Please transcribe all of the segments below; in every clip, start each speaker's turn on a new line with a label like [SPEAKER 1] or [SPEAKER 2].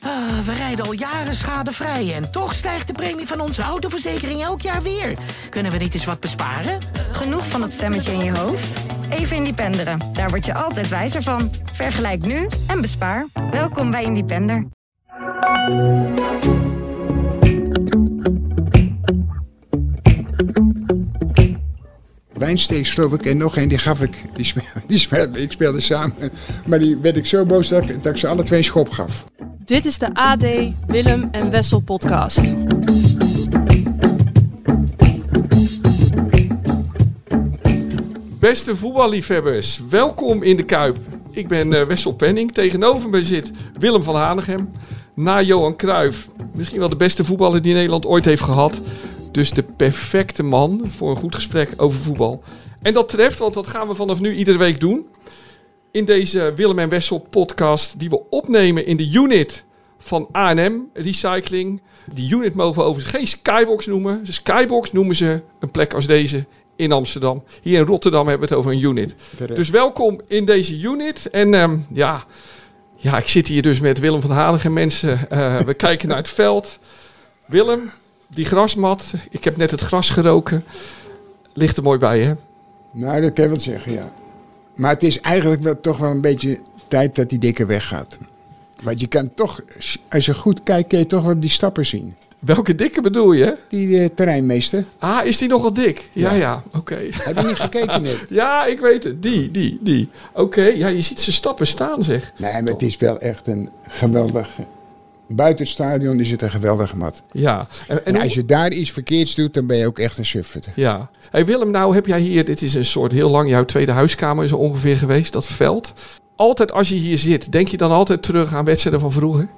[SPEAKER 1] Ah, we rijden al jaren schadevrij en toch stijgt de premie van onze autoverzekering elk jaar weer. Kunnen we niet eens wat besparen?
[SPEAKER 2] Genoeg van dat stemmetje in je hoofd? Even Independeren. Daar word je altijd wijzer van. Vergelijk nu en bespaar. Welkom bij Independer.
[SPEAKER 3] Wijnsteeks geloof ik en nog één, die gaf ik. Die speelde, die speelde- ik speelde samen. Maar die werd ik zo boos dat ik, dat ik ze alle twee een schop gaf.
[SPEAKER 4] Dit is de AD Willem en Wessel podcast.
[SPEAKER 5] Beste voetballiefhebbers, welkom in de Kuip. Ik ben eh, Wessel Penning. Tegenover me zit Willem van Hanegem. Na Johan Cruijff, misschien wel de beste voetballer die Nederland ooit heeft gehad. Dus de perfecte man voor een goed gesprek over voetbal. En dat treft, want dat gaan we vanaf nu iedere week doen. In deze Willem en Wessel podcast die we opnemen in de unit van A&M Recycling. Die unit mogen we overigens geen skybox noemen. De skybox noemen ze een plek als deze in Amsterdam. Hier in Rotterdam hebben we het over een unit.
[SPEAKER 3] Terecht.
[SPEAKER 5] Dus welkom in deze unit. En ehm, ja, ja, ik zit hier dus met Willem van Haligen. Mensen, Eh, we kijken naar het veld. Willem, die grasmat. Ik heb net het gras geroken. Ligt er mooi bij, hè?
[SPEAKER 3] Nou, dat kan je wel zeggen, ja. Maar het is eigenlijk wel, toch wel een beetje tijd dat die dikke weggaat. Want je kan toch, als je goed kijkt, kun je toch wel die stappen zien.
[SPEAKER 5] Welke dikke bedoel je?
[SPEAKER 3] Die eh, terreinmeester.
[SPEAKER 5] Ah, is die nogal dik? Ja, ja,
[SPEAKER 3] Ja.
[SPEAKER 5] oké.
[SPEAKER 3] Heb je niet gekeken net?
[SPEAKER 5] Ja, ik weet het. Die, die, die. Oké, ja, je ziet zijn stappen staan, zeg.
[SPEAKER 3] Nee, maar het is wel echt een geweldig... Buiten het stadion is het een geweldige mat.
[SPEAKER 5] Ja. En, en
[SPEAKER 3] En
[SPEAKER 5] hoe-
[SPEAKER 3] als je daar iets verkeerds doet, dan ben je ook echt een suffert.
[SPEAKER 5] Ja. Hey Willem, nou heb jij hier, dit is een soort heel lang, jouw tweede huiskamer is er ongeveer geweest, dat veld. Altijd als je hier zit, denk je dan altijd terug aan wedstrijden van vroeger?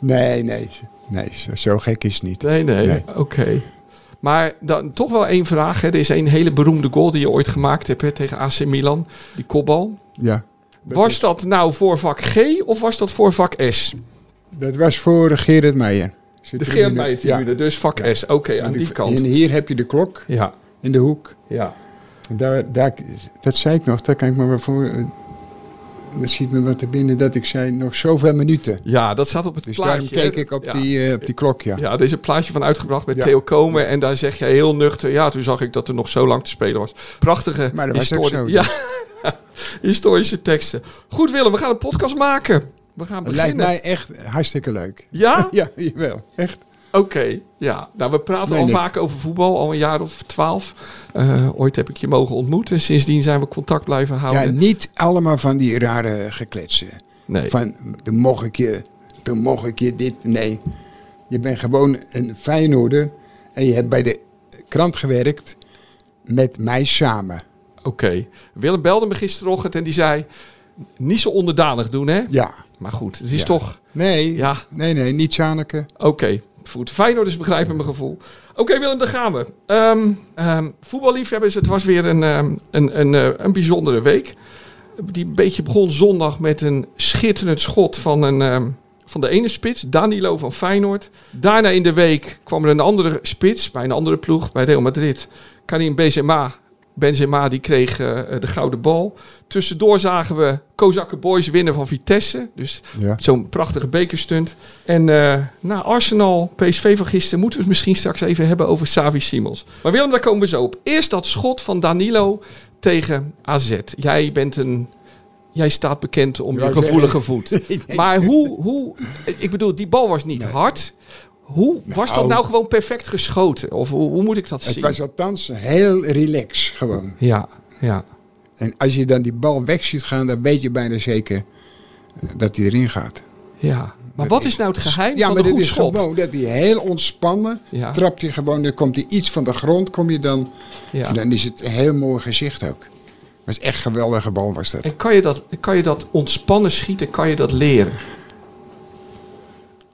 [SPEAKER 3] Nee, nee. Nee, zo- zo gek is het niet.
[SPEAKER 5] Nee, nee.
[SPEAKER 3] Nee.
[SPEAKER 5] Oké. Maar dan toch wel één vraag. Hè. Er is één hele beroemde goal die je ooit gemaakt hebt hè, tegen AC Milan, die kopbal.
[SPEAKER 3] Ja.
[SPEAKER 5] Was dat nou voor vak G of was dat voor vak S?
[SPEAKER 3] Dat was voor Gerard Meijer. Zijn
[SPEAKER 5] De
[SPEAKER 3] tribune.
[SPEAKER 5] Geert
[SPEAKER 3] Ja.
[SPEAKER 5] Meijer-tribune, dus vak S. Oké, aan
[SPEAKER 3] Want
[SPEAKER 5] die
[SPEAKER 3] ik-
[SPEAKER 5] kant.
[SPEAKER 3] En hier heb je de klok
[SPEAKER 5] Ja,
[SPEAKER 3] in de hoek.
[SPEAKER 5] ja.
[SPEAKER 3] En Daar, daar, dat zei ik nog, daar kan ik me wel voor... Dat schiet me wat te binnen dat ik zei, nog zoveel minuten.
[SPEAKER 5] Ja, dat staat op het
[SPEAKER 3] Dus
[SPEAKER 5] plaatje.
[SPEAKER 3] daarom keek
[SPEAKER 5] hè.
[SPEAKER 3] ik op,
[SPEAKER 5] Ja.
[SPEAKER 3] die, eh, op die klok, ja.
[SPEAKER 5] Ja, er is een plaatje van uitgebracht met
[SPEAKER 3] Ja.
[SPEAKER 5] Theo Komen. En daar zeg jij heel nuchter. Ja, toen zag ik dat er nog zo lang te spelen was. Prachtige
[SPEAKER 3] Maar dat was ook zo, dus.
[SPEAKER 5] ja. historische teksten. Goed, Willem, we gaan een podcast maken. We gaan
[SPEAKER 3] Het
[SPEAKER 5] beginnen.
[SPEAKER 3] lijkt mij echt hartstikke leuk.
[SPEAKER 5] Ja?
[SPEAKER 3] Ja, jawel. Echt.
[SPEAKER 5] Oké. Ja. Nou, we praten
[SPEAKER 3] Nee,
[SPEAKER 5] al
[SPEAKER 3] Nick.
[SPEAKER 5] vaak over voetbal, al een jaar of twaalf. Eh, ooit heb ik je mogen ontmoeten. Sindsdien zijn we contact blijven houden.
[SPEAKER 3] Ja, niet allemaal van die rare gekletsen.
[SPEAKER 5] nee.
[SPEAKER 3] Van, dan mocht ik je, dan mocht ik je dit. Nee, je bent gewoon een Feyenoorder en je hebt bij de krant gewerkt met mij samen.
[SPEAKER 5] Oké. Willem belde me gisterochtend en die zei... Niet zo onderdanig doen, hè?
[SPEAKER 3] Ja.
[SPEAKER 5] Maar goed, het is
[SPEAKER 3] Ja.
[SPEAKER 5] toch...
[SPEAKER 3] Nee,
[SPEAKER 5] Ja.
[SPEAKER 3] nee, nee, niet Zaneke.
[SPEAKER 5] Oké, goed. Feyenoorders begrijpen dus mijn gevoel. Oké Willem, daar gaan we. Ehm ehm, voetballiefhebbers, het was weer een, ehm, een, een, eh, een bijzondere week. Die een beetje begon zondag met een schitterend schot van, een, ehm, van de ene spits, Danilo van Feyenoord. Daarna in de week kwam er een andere spits bij een andere ploeg, bij Real Madrid. Karim Benzema. Benzema die kreeg eh, de gouden bal. Tussendoor zagen we Kozakke Boys winnen van Vitesse. Dus
[SPEAKER 3] Ja.
[SPEAKER 5] Zo'n prachtige bekerstunt. En eh na Arsenal, PSV van gisteren, moeten we het misschien straks even hebben over Savi Simons. Maar Willem, daar komen we zo op. Eerst dat schot van Danilo tegen AZ. Jij bent een... Jij staat bekend om
[SPEAKER 3] Je
[SPEAKER 5] je
[SPEAKER 3] wou
[SPEAKER 5] gevoelige
[SPEAKER 3] zeggen-
[SPEAKER 5] voet. Maar hoe, hoe... Ik bedoel, die bal was niet hard. Hoe was dat nou gewoon perfect geschoten? Of hoe, hoe moet ik dat
[SPEAKER 3] Het
[SPEAKER 5] zien?
[SPEAKER 3] was althans heel relax gewoon.
[SPEAKER 5] Ja, ja.
[SPEAKER 3] En als je dan die bal weg ziet gaan, dan weet je bijna zeker eh, dat hij erin gaat.
[SPEAKER 5] Ja, maar wat is nou het geheim
[SPEAKER 3] Ja,
[SPEAKER 5] van
[SPEAKER 3] maar
[SPEAKER 5] een
[SPEAKER 3] dit
[SPEAKER 5] goed
[SPEAKER 3] is
[SPEAKER 5] schot?
[SPEAKER 3] gewoon dat hij heel ontspannen
[SPEAKER 5] Ja.
[SPEAKER 3] trapt hij gewoon. Dan komt hij iets van de grond, kom je dan.
[SPEAKER 5] Ja.
[SPEAKER 3] En dan is het een heel mooi gezicht ook. was echt een geweldige bal was dat.
[SPEAKER 5] En kan je, dat, kan je dat ontspannen schieten, kan je dat leren?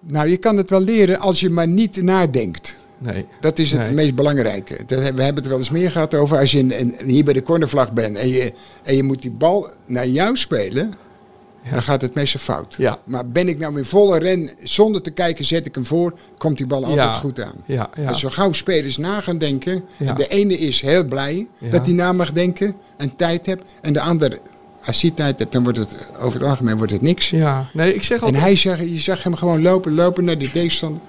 [SPEAKER 3] Nou, je kan het wel leren als je maar niet nadenkt.
[SPEAKER 5] Nee.
[SPEAKER 3] Dat is het
[SPEAKER 5] Nee.
[SPEAKER 3] meest belangrijke. Dat, hebben- we hebben het er wel eens meer gehad over. Als je in- in- hier bij de cornervlag bent en je, en je moet die bal naar jou spelen, dan gaat het meestal fout.
[SPEAKER 5] Ja.
[SPEAKER 3] Maar ben ik nou in volle ren, zonder te kijken zet ik hem voor, komt die bal altijd
[SPEAKER 5] Ja.
[SPEAKER 3] goed aan.
[SPEAKER 5] Ja, ja.
[SPEAKER 3] En zo gauw spelers na gaan denken,
[SPEAKER 5] Ja.
[SPEAKER 3] en de ene is heel blij
[SPEAKER 5] Ja.
[SPEAKER 3] dat hij na mag denken en tijd hebt, en de ander Als hij tijd hebt, dan wordt het over het algemeen wordt het niks.
[SPEAKER 5] Ja, nee, ik zeg
[SPEAKER 3] En
[SPEAKER 5] altijd...
[SPEAKER 3] hij zag, je zag hem gewoon lopen, lopen naar die tegenstander.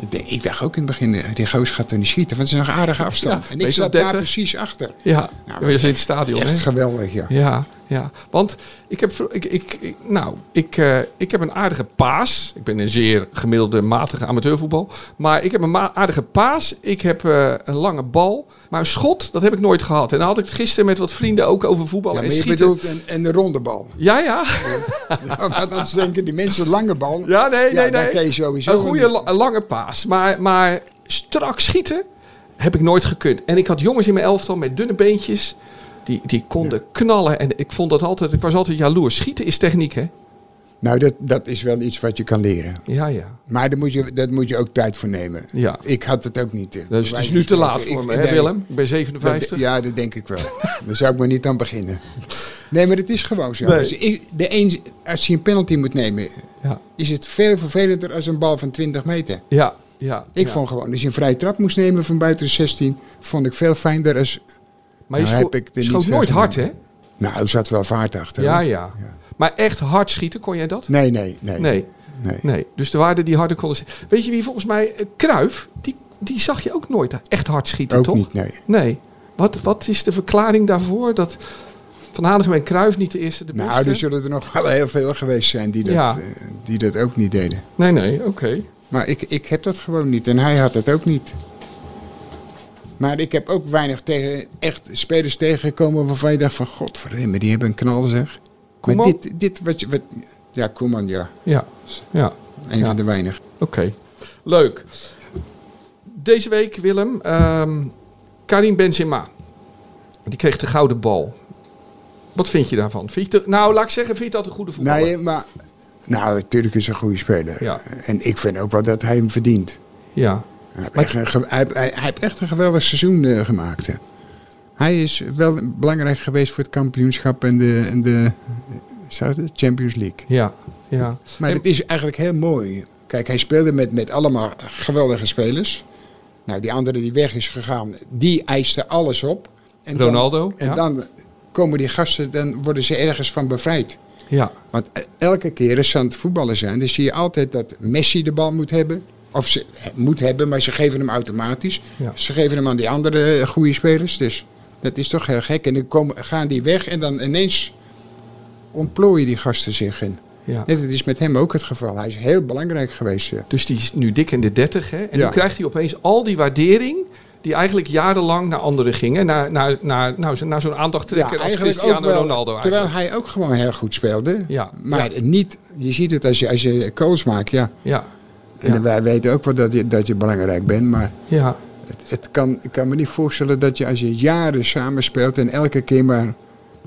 [SPEAKER 3] Ik denk- Ik dacht ook in het begin, eh, die goos gaat er niet schieten, want het is een aardige afstand.
[SPEAKER 5] Ja,
[SPEAKER 3] en ik
[SPEAKER 5] meestal
[SPEAKER 3] zat daar
[SPEAKER 5] 30.
[SPEAKER 3] precies achter.
[SPEAKER 5] Ja,
[SPEAKER 3] Nou,
[SPEAKER 5] je was in het stadion,
[SPEAKER 3] Echt
[SPEAKER 5] hè?
[SPEAKER 3] geweldig, ja.
[SPEAKER 5] Ja, ja. Want ik heb, vro- ik, ik, ik- nou, ik, eh, ik heb een aardige paas. Ik ben een zeer gemiddelde, matige amateurvoetbal. Maar ik heb een ma- aardige paas. Ik heb eh, een lange bal. Maar een schot, dat heb ik nooit gehad. En daar had ik het gisteren met wat vrienden ook over voetbal
[SPEAKER 3] Ja,
[SPEAKER 5] en
[SPEAKER 3] maar je
[SPEAKER 5] schieten.
[SPEAKER 3] bedoelt een, een ronde bal.
[SPEAKER 5] Ja, ja.
[SPEAKER 3] Ja, maar dan denken die mensen lange bal.
[SPEAKER 5] Ja, nee, nee,
[SPEAKER 3] daar
[SPEAKER 5] nee.
[SPEAKER 3] kan je sowieso
[SPEAKER 5] Een goede
[SPEAKER 3] niet-
[SPEAKER 5] la- een lange paas. Maar, maar strak schieten heb ik nooit gekund. En ik had jongens in mijn elftal met dunne beentjes. Die, die konden knallen. En ik vond dat altijd. Ik was altijd jaloers. Schieten is techniek, hè?
[SPEAKER 3] Nou, dat, dat is wel iets wat je kan leren.
[SPEAKER 5] Ja, ja.
[SPEAKER 3] Maar daar moet je, dat moet je ook tijd voor nemen.
[SPEAKER 5] Ja.
[SPEAKER 3] Ik had het ook niet. eh,
[SPEAKER 5] Dus het is
[SPEAKER 3] wijze
[SPEAKER 5] nu te
[SPEAKER 3] van
[SPEAKER 5] laat
[SPEAKER 3] spreken.
[SPEAKER 5] voor
[SPEAKER 3] Ik-
[SPEAKER 5] me, hè
[SPEAKER 3] nee,
[SPEAKER 5] Willem? Ik ben
[SPEAKER 3] dat-
[SPEAKER 5] 57.
[SPEAKER 3] ja, dat denk ik wel. daar zou ik maar niet aan beginnen. Nee, maar het is gewoon zo.
[SPEAKER 5] Nee.
[SPEAKER 3] Dus ik- de een, als je een penalty moet nemen,
[SPEAKER 5] Ja,
[SPEAKER 3] is het veel vervelender als een bal van 20 meter.
[SPEAKER 5] ja. ja.
[SPEAKER 3] Ik
[SPEAKER 5] ja.
[SPEAKER 3] vond gewoon, als je een vrije trap moest nemen van buiten de 16, vond ik veel fijner als...
[SPEAKER 5] maar je
[SPEAKER 3] nou
[SPEAKER 5] scho-
[SPEAKER 3] heb ik er niet
[SPEAKER 5] schoot
[SPEAKER 3] veel
[SPEAKER 5] nooit
[SPEAKER 3] gedaan.
[SPEAKER 5] hard, hè?
[SPEAKER 3] Nou, er zat wel vaart achter.
[SPEAKER 5] Ja,
[SPEAKER 3] hoor.
[SPEAKER 5] ja. Maar echt hard schieten, kon jij dat?
[SPEAKER 3] Nee, nee, nee.
[SPEAKER 5] Nee.
[SPEAKER 3] nee.
[SPEAKER 5] Nee. Dus er waren die harde konden. Weet je wie volgens mij. eh, Kruif, die, die zag je ook nooit echt hard schieten,
[SPEAKER 3] Ook
[SPEAKER 5] toch?
[SPEAKER 3] niet, nee.
[SPEAKER 5] Nee. Wat, wat is de verklaring daarvoor dat Van Hanegem en Kruif niet de eerste, de beste?
[SPEAKER 3] Nou, er zullen er nog wel heel veel geweest zijn die dat,
[SPEAKER 5] Ja.
[SPEAKER 3] eh, die dat ook niet deden.
[SPEAKER 5] Nee, nee, oké.
[SPEAKER 3] Maar ik, ik heb dat gewoon niet. En hij had dat ook niet. Maar ik heb ook weinig tegen, echt spelers tegengekomen waarvan je dacht van... Godverdomme, die hebben een knal zeg.
[SPEAKER 5] Koeman?
[SPEAKER 3] Maar dit, dit wat, je- wat... Ja, Koeman, ja.
[SPEAKER 5] Ja, ja.
[SPEAKER 3] Een
[SPEAKER 5] Ja.
[SPEAKER 3] van de weinig.
[SPEAKER 5] Oké, leuk. Deze week, Willem, ehm Karim Benzema. Die kreeg de gouden bal. Wat vind je daarvan? Vind je het- nou, laat ik zeggen, vind je dat een goede voetballer?
[SPEAKER 3] Nee, maar... Nou, natuurlijk is hij een goede speler.
[SPEAKER 5] Ja.
[SPEAKER 3] En ik vind ook wel dat hij hem verdient.
[SPEAKER 5] Ja,
[SPEAKER 3] Hij heeft, echt een, ge- hij, heeft- hij- hij heeft echt een geweldig seizoen eh, gemaakt. hè. Hij is wel belangrijk geweest voor het kampioenschap en de, en de zou het de Champions League.
[SPEAKER 5] ja, ja.
[SPEAKER 3] Maar
[SPEAKER 5] En-
[SPEAKER 3] het is eigenlijk heel mooi. Kijk, hij speelde met, met allemaal geweldige spelers. Nou, die andere die weg is gegaan, die eiste alles op. En
[SPEAKER 5] Ronaldo,
[SPEAKER 3] Dan, en
[SPEAKER 5] ja.
[SPEAKER 3] dan komen die gasten, dan worden ze ergens van bevrijd.
[SPEAKER 5] ja,
[SPEAKER 3] Want elke keer als ze aan het voetballen zijn, dan zie je altijd dat Messi de bal moet hebben. Of ze eh, moet hebben, maar ze geven hem automatisch.
[SPEAKER 5] Ja.
[SPEAKER 3] Ze geven hem aan die andere eh, goede spelers. Dus dat is toch heel gek. En dan komen, gaan die weg en dan ineens ontplooien die gasten zich. En
[SPEAKER 5] ja.
[SPEAKER 3] net, dat is met hem ook het geval. Hij is heel belangrijk geweest. eh.
[SPEAKER 5] Dus die is nu dik in de 30. Hè? En
[SPEAKER 3] Ja.
[SPEAKER 5] nu krijgt hij opeens al die waardering. die eigenlijk jarenlang naar anderen gingen. Naar, naar, naar, nou, zo- naar zo'n aandachttrekker als Cristiano Ronaldo. Eigenlijk.
[SPEAKER 3] terwijl hij ook gewoon heel goed speelde.
[SPEAKER 5] Ja.
[SPEAKER 3] Maar niet, je ziet het als je, als je calls maakt, ja.
[SPEAKER 5] Ja,
[SPEAKER 3] En
[SPEAKER 5] Ja.
[SPEAKER 3] wij weten ook wel dat je, dat je belangrijk bent, maar...
[SPEAKER 5] ja,
[SPEAKER 3] Het, het kan, ik kan me niet voorstellen dat je als je jaren samenspeelt en elke keer maar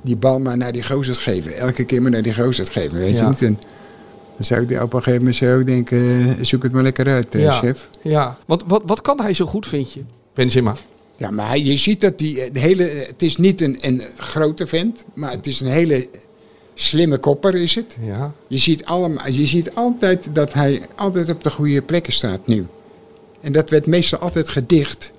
[SPEAKER 3] die bal maar naar die gozer geven. Elke keer maar naar die gozer geven, weet
[SPEAKER 5] Ja.
[SPEAKER 3] je niet? En dan zou ik op een gegeven moment zo denken, eh, zoek het maar lekker uit, eh,
[SPEAKER 5] Ja.
[SPEAKER 3] chef.
[SPEAKER 5] ja. Want wat, wat kan hij zo goed, vind je? Benzema.
[SPEAKER 3] Ja, maar hij- je ziet dat die eh, de hele, het is niet een, een grote vent, maar het is een hele slimme kopper is het.
[SPEAKER 5] Ja,
[SPEAKER 3] Je ziet, allemaal, je ziet altijd dat hij altijd op de goede plekken staat nu. En dat werd meestal altijd gedicht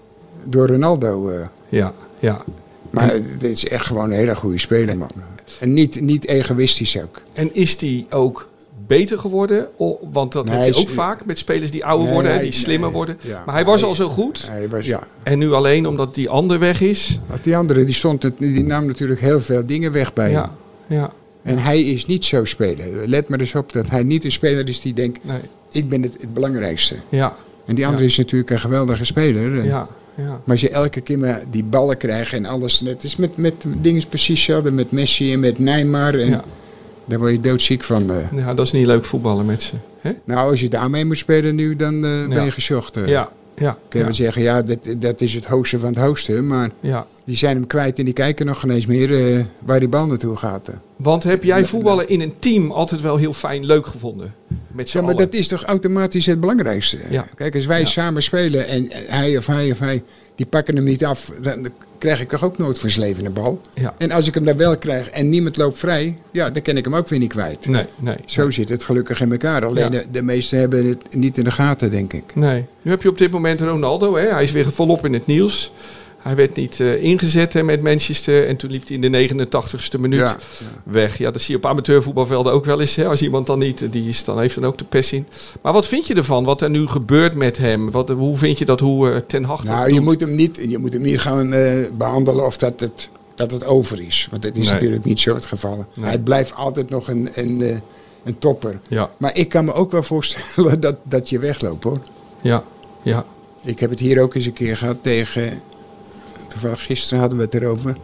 [SPEAKER 3] door Ronaldo. eh.
[SPEAKER 5] ja, ja.
[SPEAKER 3] Maar het is echt gewoon een hele goede speler, man. En niet, niet egoïstisch ook.
[SPEAKER 5] En is die ook beter geworden? O- want dat
[SPEAKER 3] Nee,
[SPEAKER 5] heb
[SPEAKER 3] hij
[SPEAKER 5] je
[SPEAKER 3] is-
[SPEAKER 5] ook vaak met spelers die ouder
[SPEAKER 3] Nee,
[SPEAKER 5] worden, hè,
[SPEAKER 3] hij-
[SPEAKER 5] die slimmer
[SPEAKER 3] nee,
[SPEAKER 5] worden.
[SPEAKER 3] ja.
[SPEAKER 5] maar hij was
[SPEAKER 3] Hij-
[SPEAKER 5] al zo goed.
[SPEAKER 3] Hij was, ja.
[SPEAKER 5] En nu alleen omdat die ander weg is.
[SPEAKER 3] Want Die andere die stond, het- die nam natuurlijk heel veel dingen weg bij
[SPEAKER 5] Ja,
[SPEAKER 3] hem.
[SPEAKER 5] ja,
[SPEAKER 3] En hij is niet zo speler. Let maar eens op dat hij niet een speler is die denkt,
[SPEAKER 5] nee,
[SPEAKER 3] ik ben het, het belangrijkste.
[SPEAKER 5] ja,
[SPEAKER 3] En die andere is natuurlijk een geweldige speler.
[SPEAKER 5] ja, ja.
[SPEAKER 3] Maar als je elke keer maar die ballen krijgt en alles. Het is met, met dingen precies hetzelfde. Met Messi en met Neymar. En
[SPEAKER 5] Ja.
[SPEAKER 3] Daar word je doodziek van. eh.
[SPEAKER 5] Ja, dat is niet leuk voetballen met ze. Hè?
[SPEAKER 3] Nou, als je daarmee moet spelen nu, dan eh, ben je gezocht. eh.
[SPEAKER 5] Ja, ja.
[SPEAKER 3] Kun je
[SPEAKER 5] ja,
[SPEAKER 3] wel zeggen, ja, dat, dat is het hoogste van het hoogste. Maar
[SPEAKER 5] ja.
[SPEAKER 3] die zijn hem kwijt en die kijken nog geen eens meer eh, waar die bal naartoe gaat. eh. hè.
[SPEAKER 5] Want heb jij voetballen in een team altijd wel heel fijn leuk gevonden? Met z'n
[SPEAKER 3] Ja, maar
[SPEAKER 5] allen.
[SPEAKER 3] dat is toch automatisch het belangrijkste.
[SPEAKER 5] Ja.
[SPEAKER 3] Kijk, als wij
[SPEAKER 5] Ja.
[SPEAKER 3] samen spelen en hij of hij of hij, die pakken hem niet af, dan krijg ik toch ook nooit voor z'n leven een bal.
[SPEAKER 5] Ja.
[SPEAKER 3] En als ik hem dan wel krijg en niemand loopt vrij, ja, dan ken ik hem ook weer niet kwijt.
[SPEAKER 5] Nee, nee.
[SPEAKER 3] Zo zit het gelukkig in elkaar. Alleen eh,
[SPEAKER 5] Ja.
[SPEAKER 3] de, de meesten hebben het niet in de gaten, denk ik.
[SPEAKER 5] Nee. Nu heb je op dit moment Ronaldo. Hè? Hij is weer volop in het nieuws. Hij Hij werd niet eh, ingezet hè, met Manchester. En toen liep hij in de 89ste minuut
[SPEAKER 3] Ja,
[SPEAKER 5] weg. Ja, dat zie je op amateurvoetbalvelden ook wel eens. Hè. Als iemand dan niet, eh, die is, dan heeft dan ook de pers in. Maar wat vind je ervan? Wat er nu gebeurt met hem? Wat, hoe vind je dat? Hoe eh, Ten Hag dat
[SPEAKER 3] Nou,
[SPEAKER 5] doet?
[SPEAKER 3] je moet hem niet, je moet hem niet gaan eh, behandelen of dat het, dat het over is. Want dat is
[SPEAKER 5] Nee.
[SPEAKER 3] natuurlijk niet zo het geval.
[SPEAKER 5] Nee.
[SPEAKER 3] Hij blijft altijd nog een, een, eh, een topper.
[SPEAKER 5] Ja,
[SPEAKER 3] Maar ik kan me ook wel voorstellen dat, dat je wegloopt hoor.
[SPEAKER 5] ja, ja.
[SPEAKER 3] Ik heb het hier ook eens een keer gehad tegen. Toevallig gisteren hadden we het erover.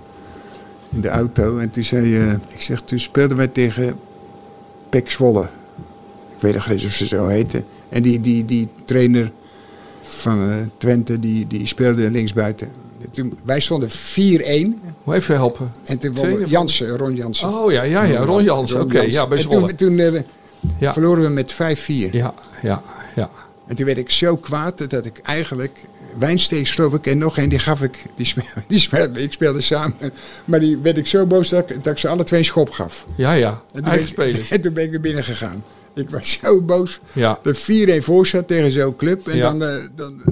[SPEAKER 3] In de auto. En toen zei je. Ik zeg, toen speelden wij tegen Pek Zwolle. Ik weet nog niet eens of ze zo heten. En die, die, die trainer van eh, Twente, die, die speelde linksbuiten. Toen, wij stonden 4-1.
[SPEAKER 5] Hoe even helpen.
[SPEAKER 3] En toen
[SPEAKER 5] Trainer
[SPEAKER 3] won
[SPEAKER 5] van-
[SPEAKER 3] Jansen, Ron Jansen.
[SPEAKER 5] Oh ja, ja, ja. Ron Jans. Oké, ja, bij
[SPEAKER 3] En
[SPEAKER 5] Zwolle.
[SPEAKER 3] toen, toen eh,
[SPEAKER 5] Ja.
[SPEAKER 3] verloren we met 5-4.
[SPEAKER 5] Ja, ja, ja.
[SPEAKER 3] En toen werd ik zo kwaad dat ik eigenlijk Wijnsteek, geloof ik, en nog één, die gaf ik. Die speelde, die speelde, ik speelde samen. Maar die werd ik zo boos dat ik, dat ik ze alle twee een schop gaf.
[SPEAKER 5] Ja, ja.
[SPEAKER 3] En toen,
[SPEAKER 5] Eigen
[SPEAKER 3] ben, ik-
[SPEAKER 5] spelers.
[SPEAKER 3] en toen ben ik naar binnen gegaan. Ik was zo boos
[SPEAKER 5] Ja.
[SPEAKER 3] dat 4-1 voor zat tegen zo'n club. En
[SPEAKER 5] Ja.
[SPEAKER 3] dan, eh, dan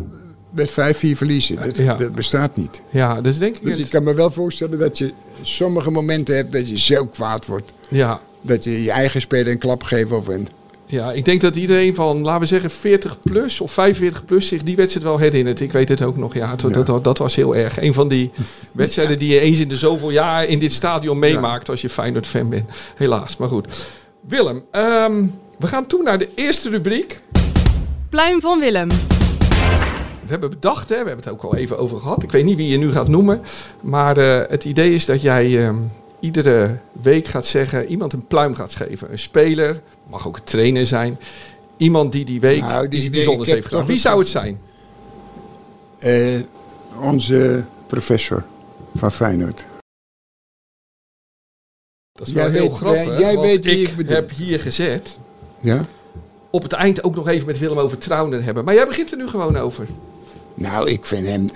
[SPEAKER 3] met 5-4 verliezen. Dat,
[SPEAKER 5] Ja.
[SPEAKER 3] dat bestaat niet.
[SPEAKER 5] Ja, dat is denk ik
[SPEAKER 3] Dus ik
[SPEAKER 5] het.
[SPEAKER 3] kan me wel voorstellen dat je sommige momenten hebt dat je zo kwaad wordt.
[SPEAKER 5] Ja.
[SPEAKER 3] Dat je je eigen speler een klap geeft of een...
[SPEAKER 5] ja, ik denk dat iedereen van, laten we zeggen, 40 plus of 45 plus zich die wedstrijd wel herinnert. Ik weet het ook nog, ja. Dat,
[SPEAKER 3] Ja.
[SPEAKER 5] dat, dat was heel erg. Een van die wedstrijden die je eens in de zoveel jaar in dit stadion meemaakt als je Feyenoord-fan bent. Helaas, maar goed. Willem, ehm, we gaan toe naar de eerste rubriek.
[SPEAKER 4] Pluim van Willem.
[SPEAKER 5] We hebben bedacht, hè, we hebben het ook al even over gehad. Ik weet niet wie je nu gaat noemen. Maar eh, het idee is dat jij ehm, iedere week gaat zeggen, iemand een pluim gaat geven. Een speler, mag ook een trainer zijn. Iemand die die week
[SPEAKER 3] Nou, die-
[SPEAKER 5] iets
[SPEAKER 3] die-
[SPEAKER 5] bijzonders
[SPEAKER 3] ik heb
[SPEAKER 5] heeft gedaan.
[SPEAKER 3] toch
[SPEAKER 5] Wie
[SPEAKER 3] een-
[SPEAKER 5] zou het zijn?
[SPEAKER 3] Eh, onze professor van Feyenoord.
[SPEAKER 5] Dat is
[SPEAKER 3] Jij
[SPEAKER 5] wel heel
[SPEAKER 3] weet-
[SPEAKER 5] grappig.
[SPEAKER 3] jij- jij
[SPEAKER 5] want
[SPEAKER 3] weet wie
[SPEAKER 5] ik
[SPEAKER 3] ik bedoel.
[SPEAKER 5] heb hier gezet.
[SPEAKER 3] Ja?
[SPEAKER 5] Op het eind ook nog even met Willem over Trouwner hebben. Maar jij begint er nu gewoon over.
[SPEAKER 3] Nou, ik vind hem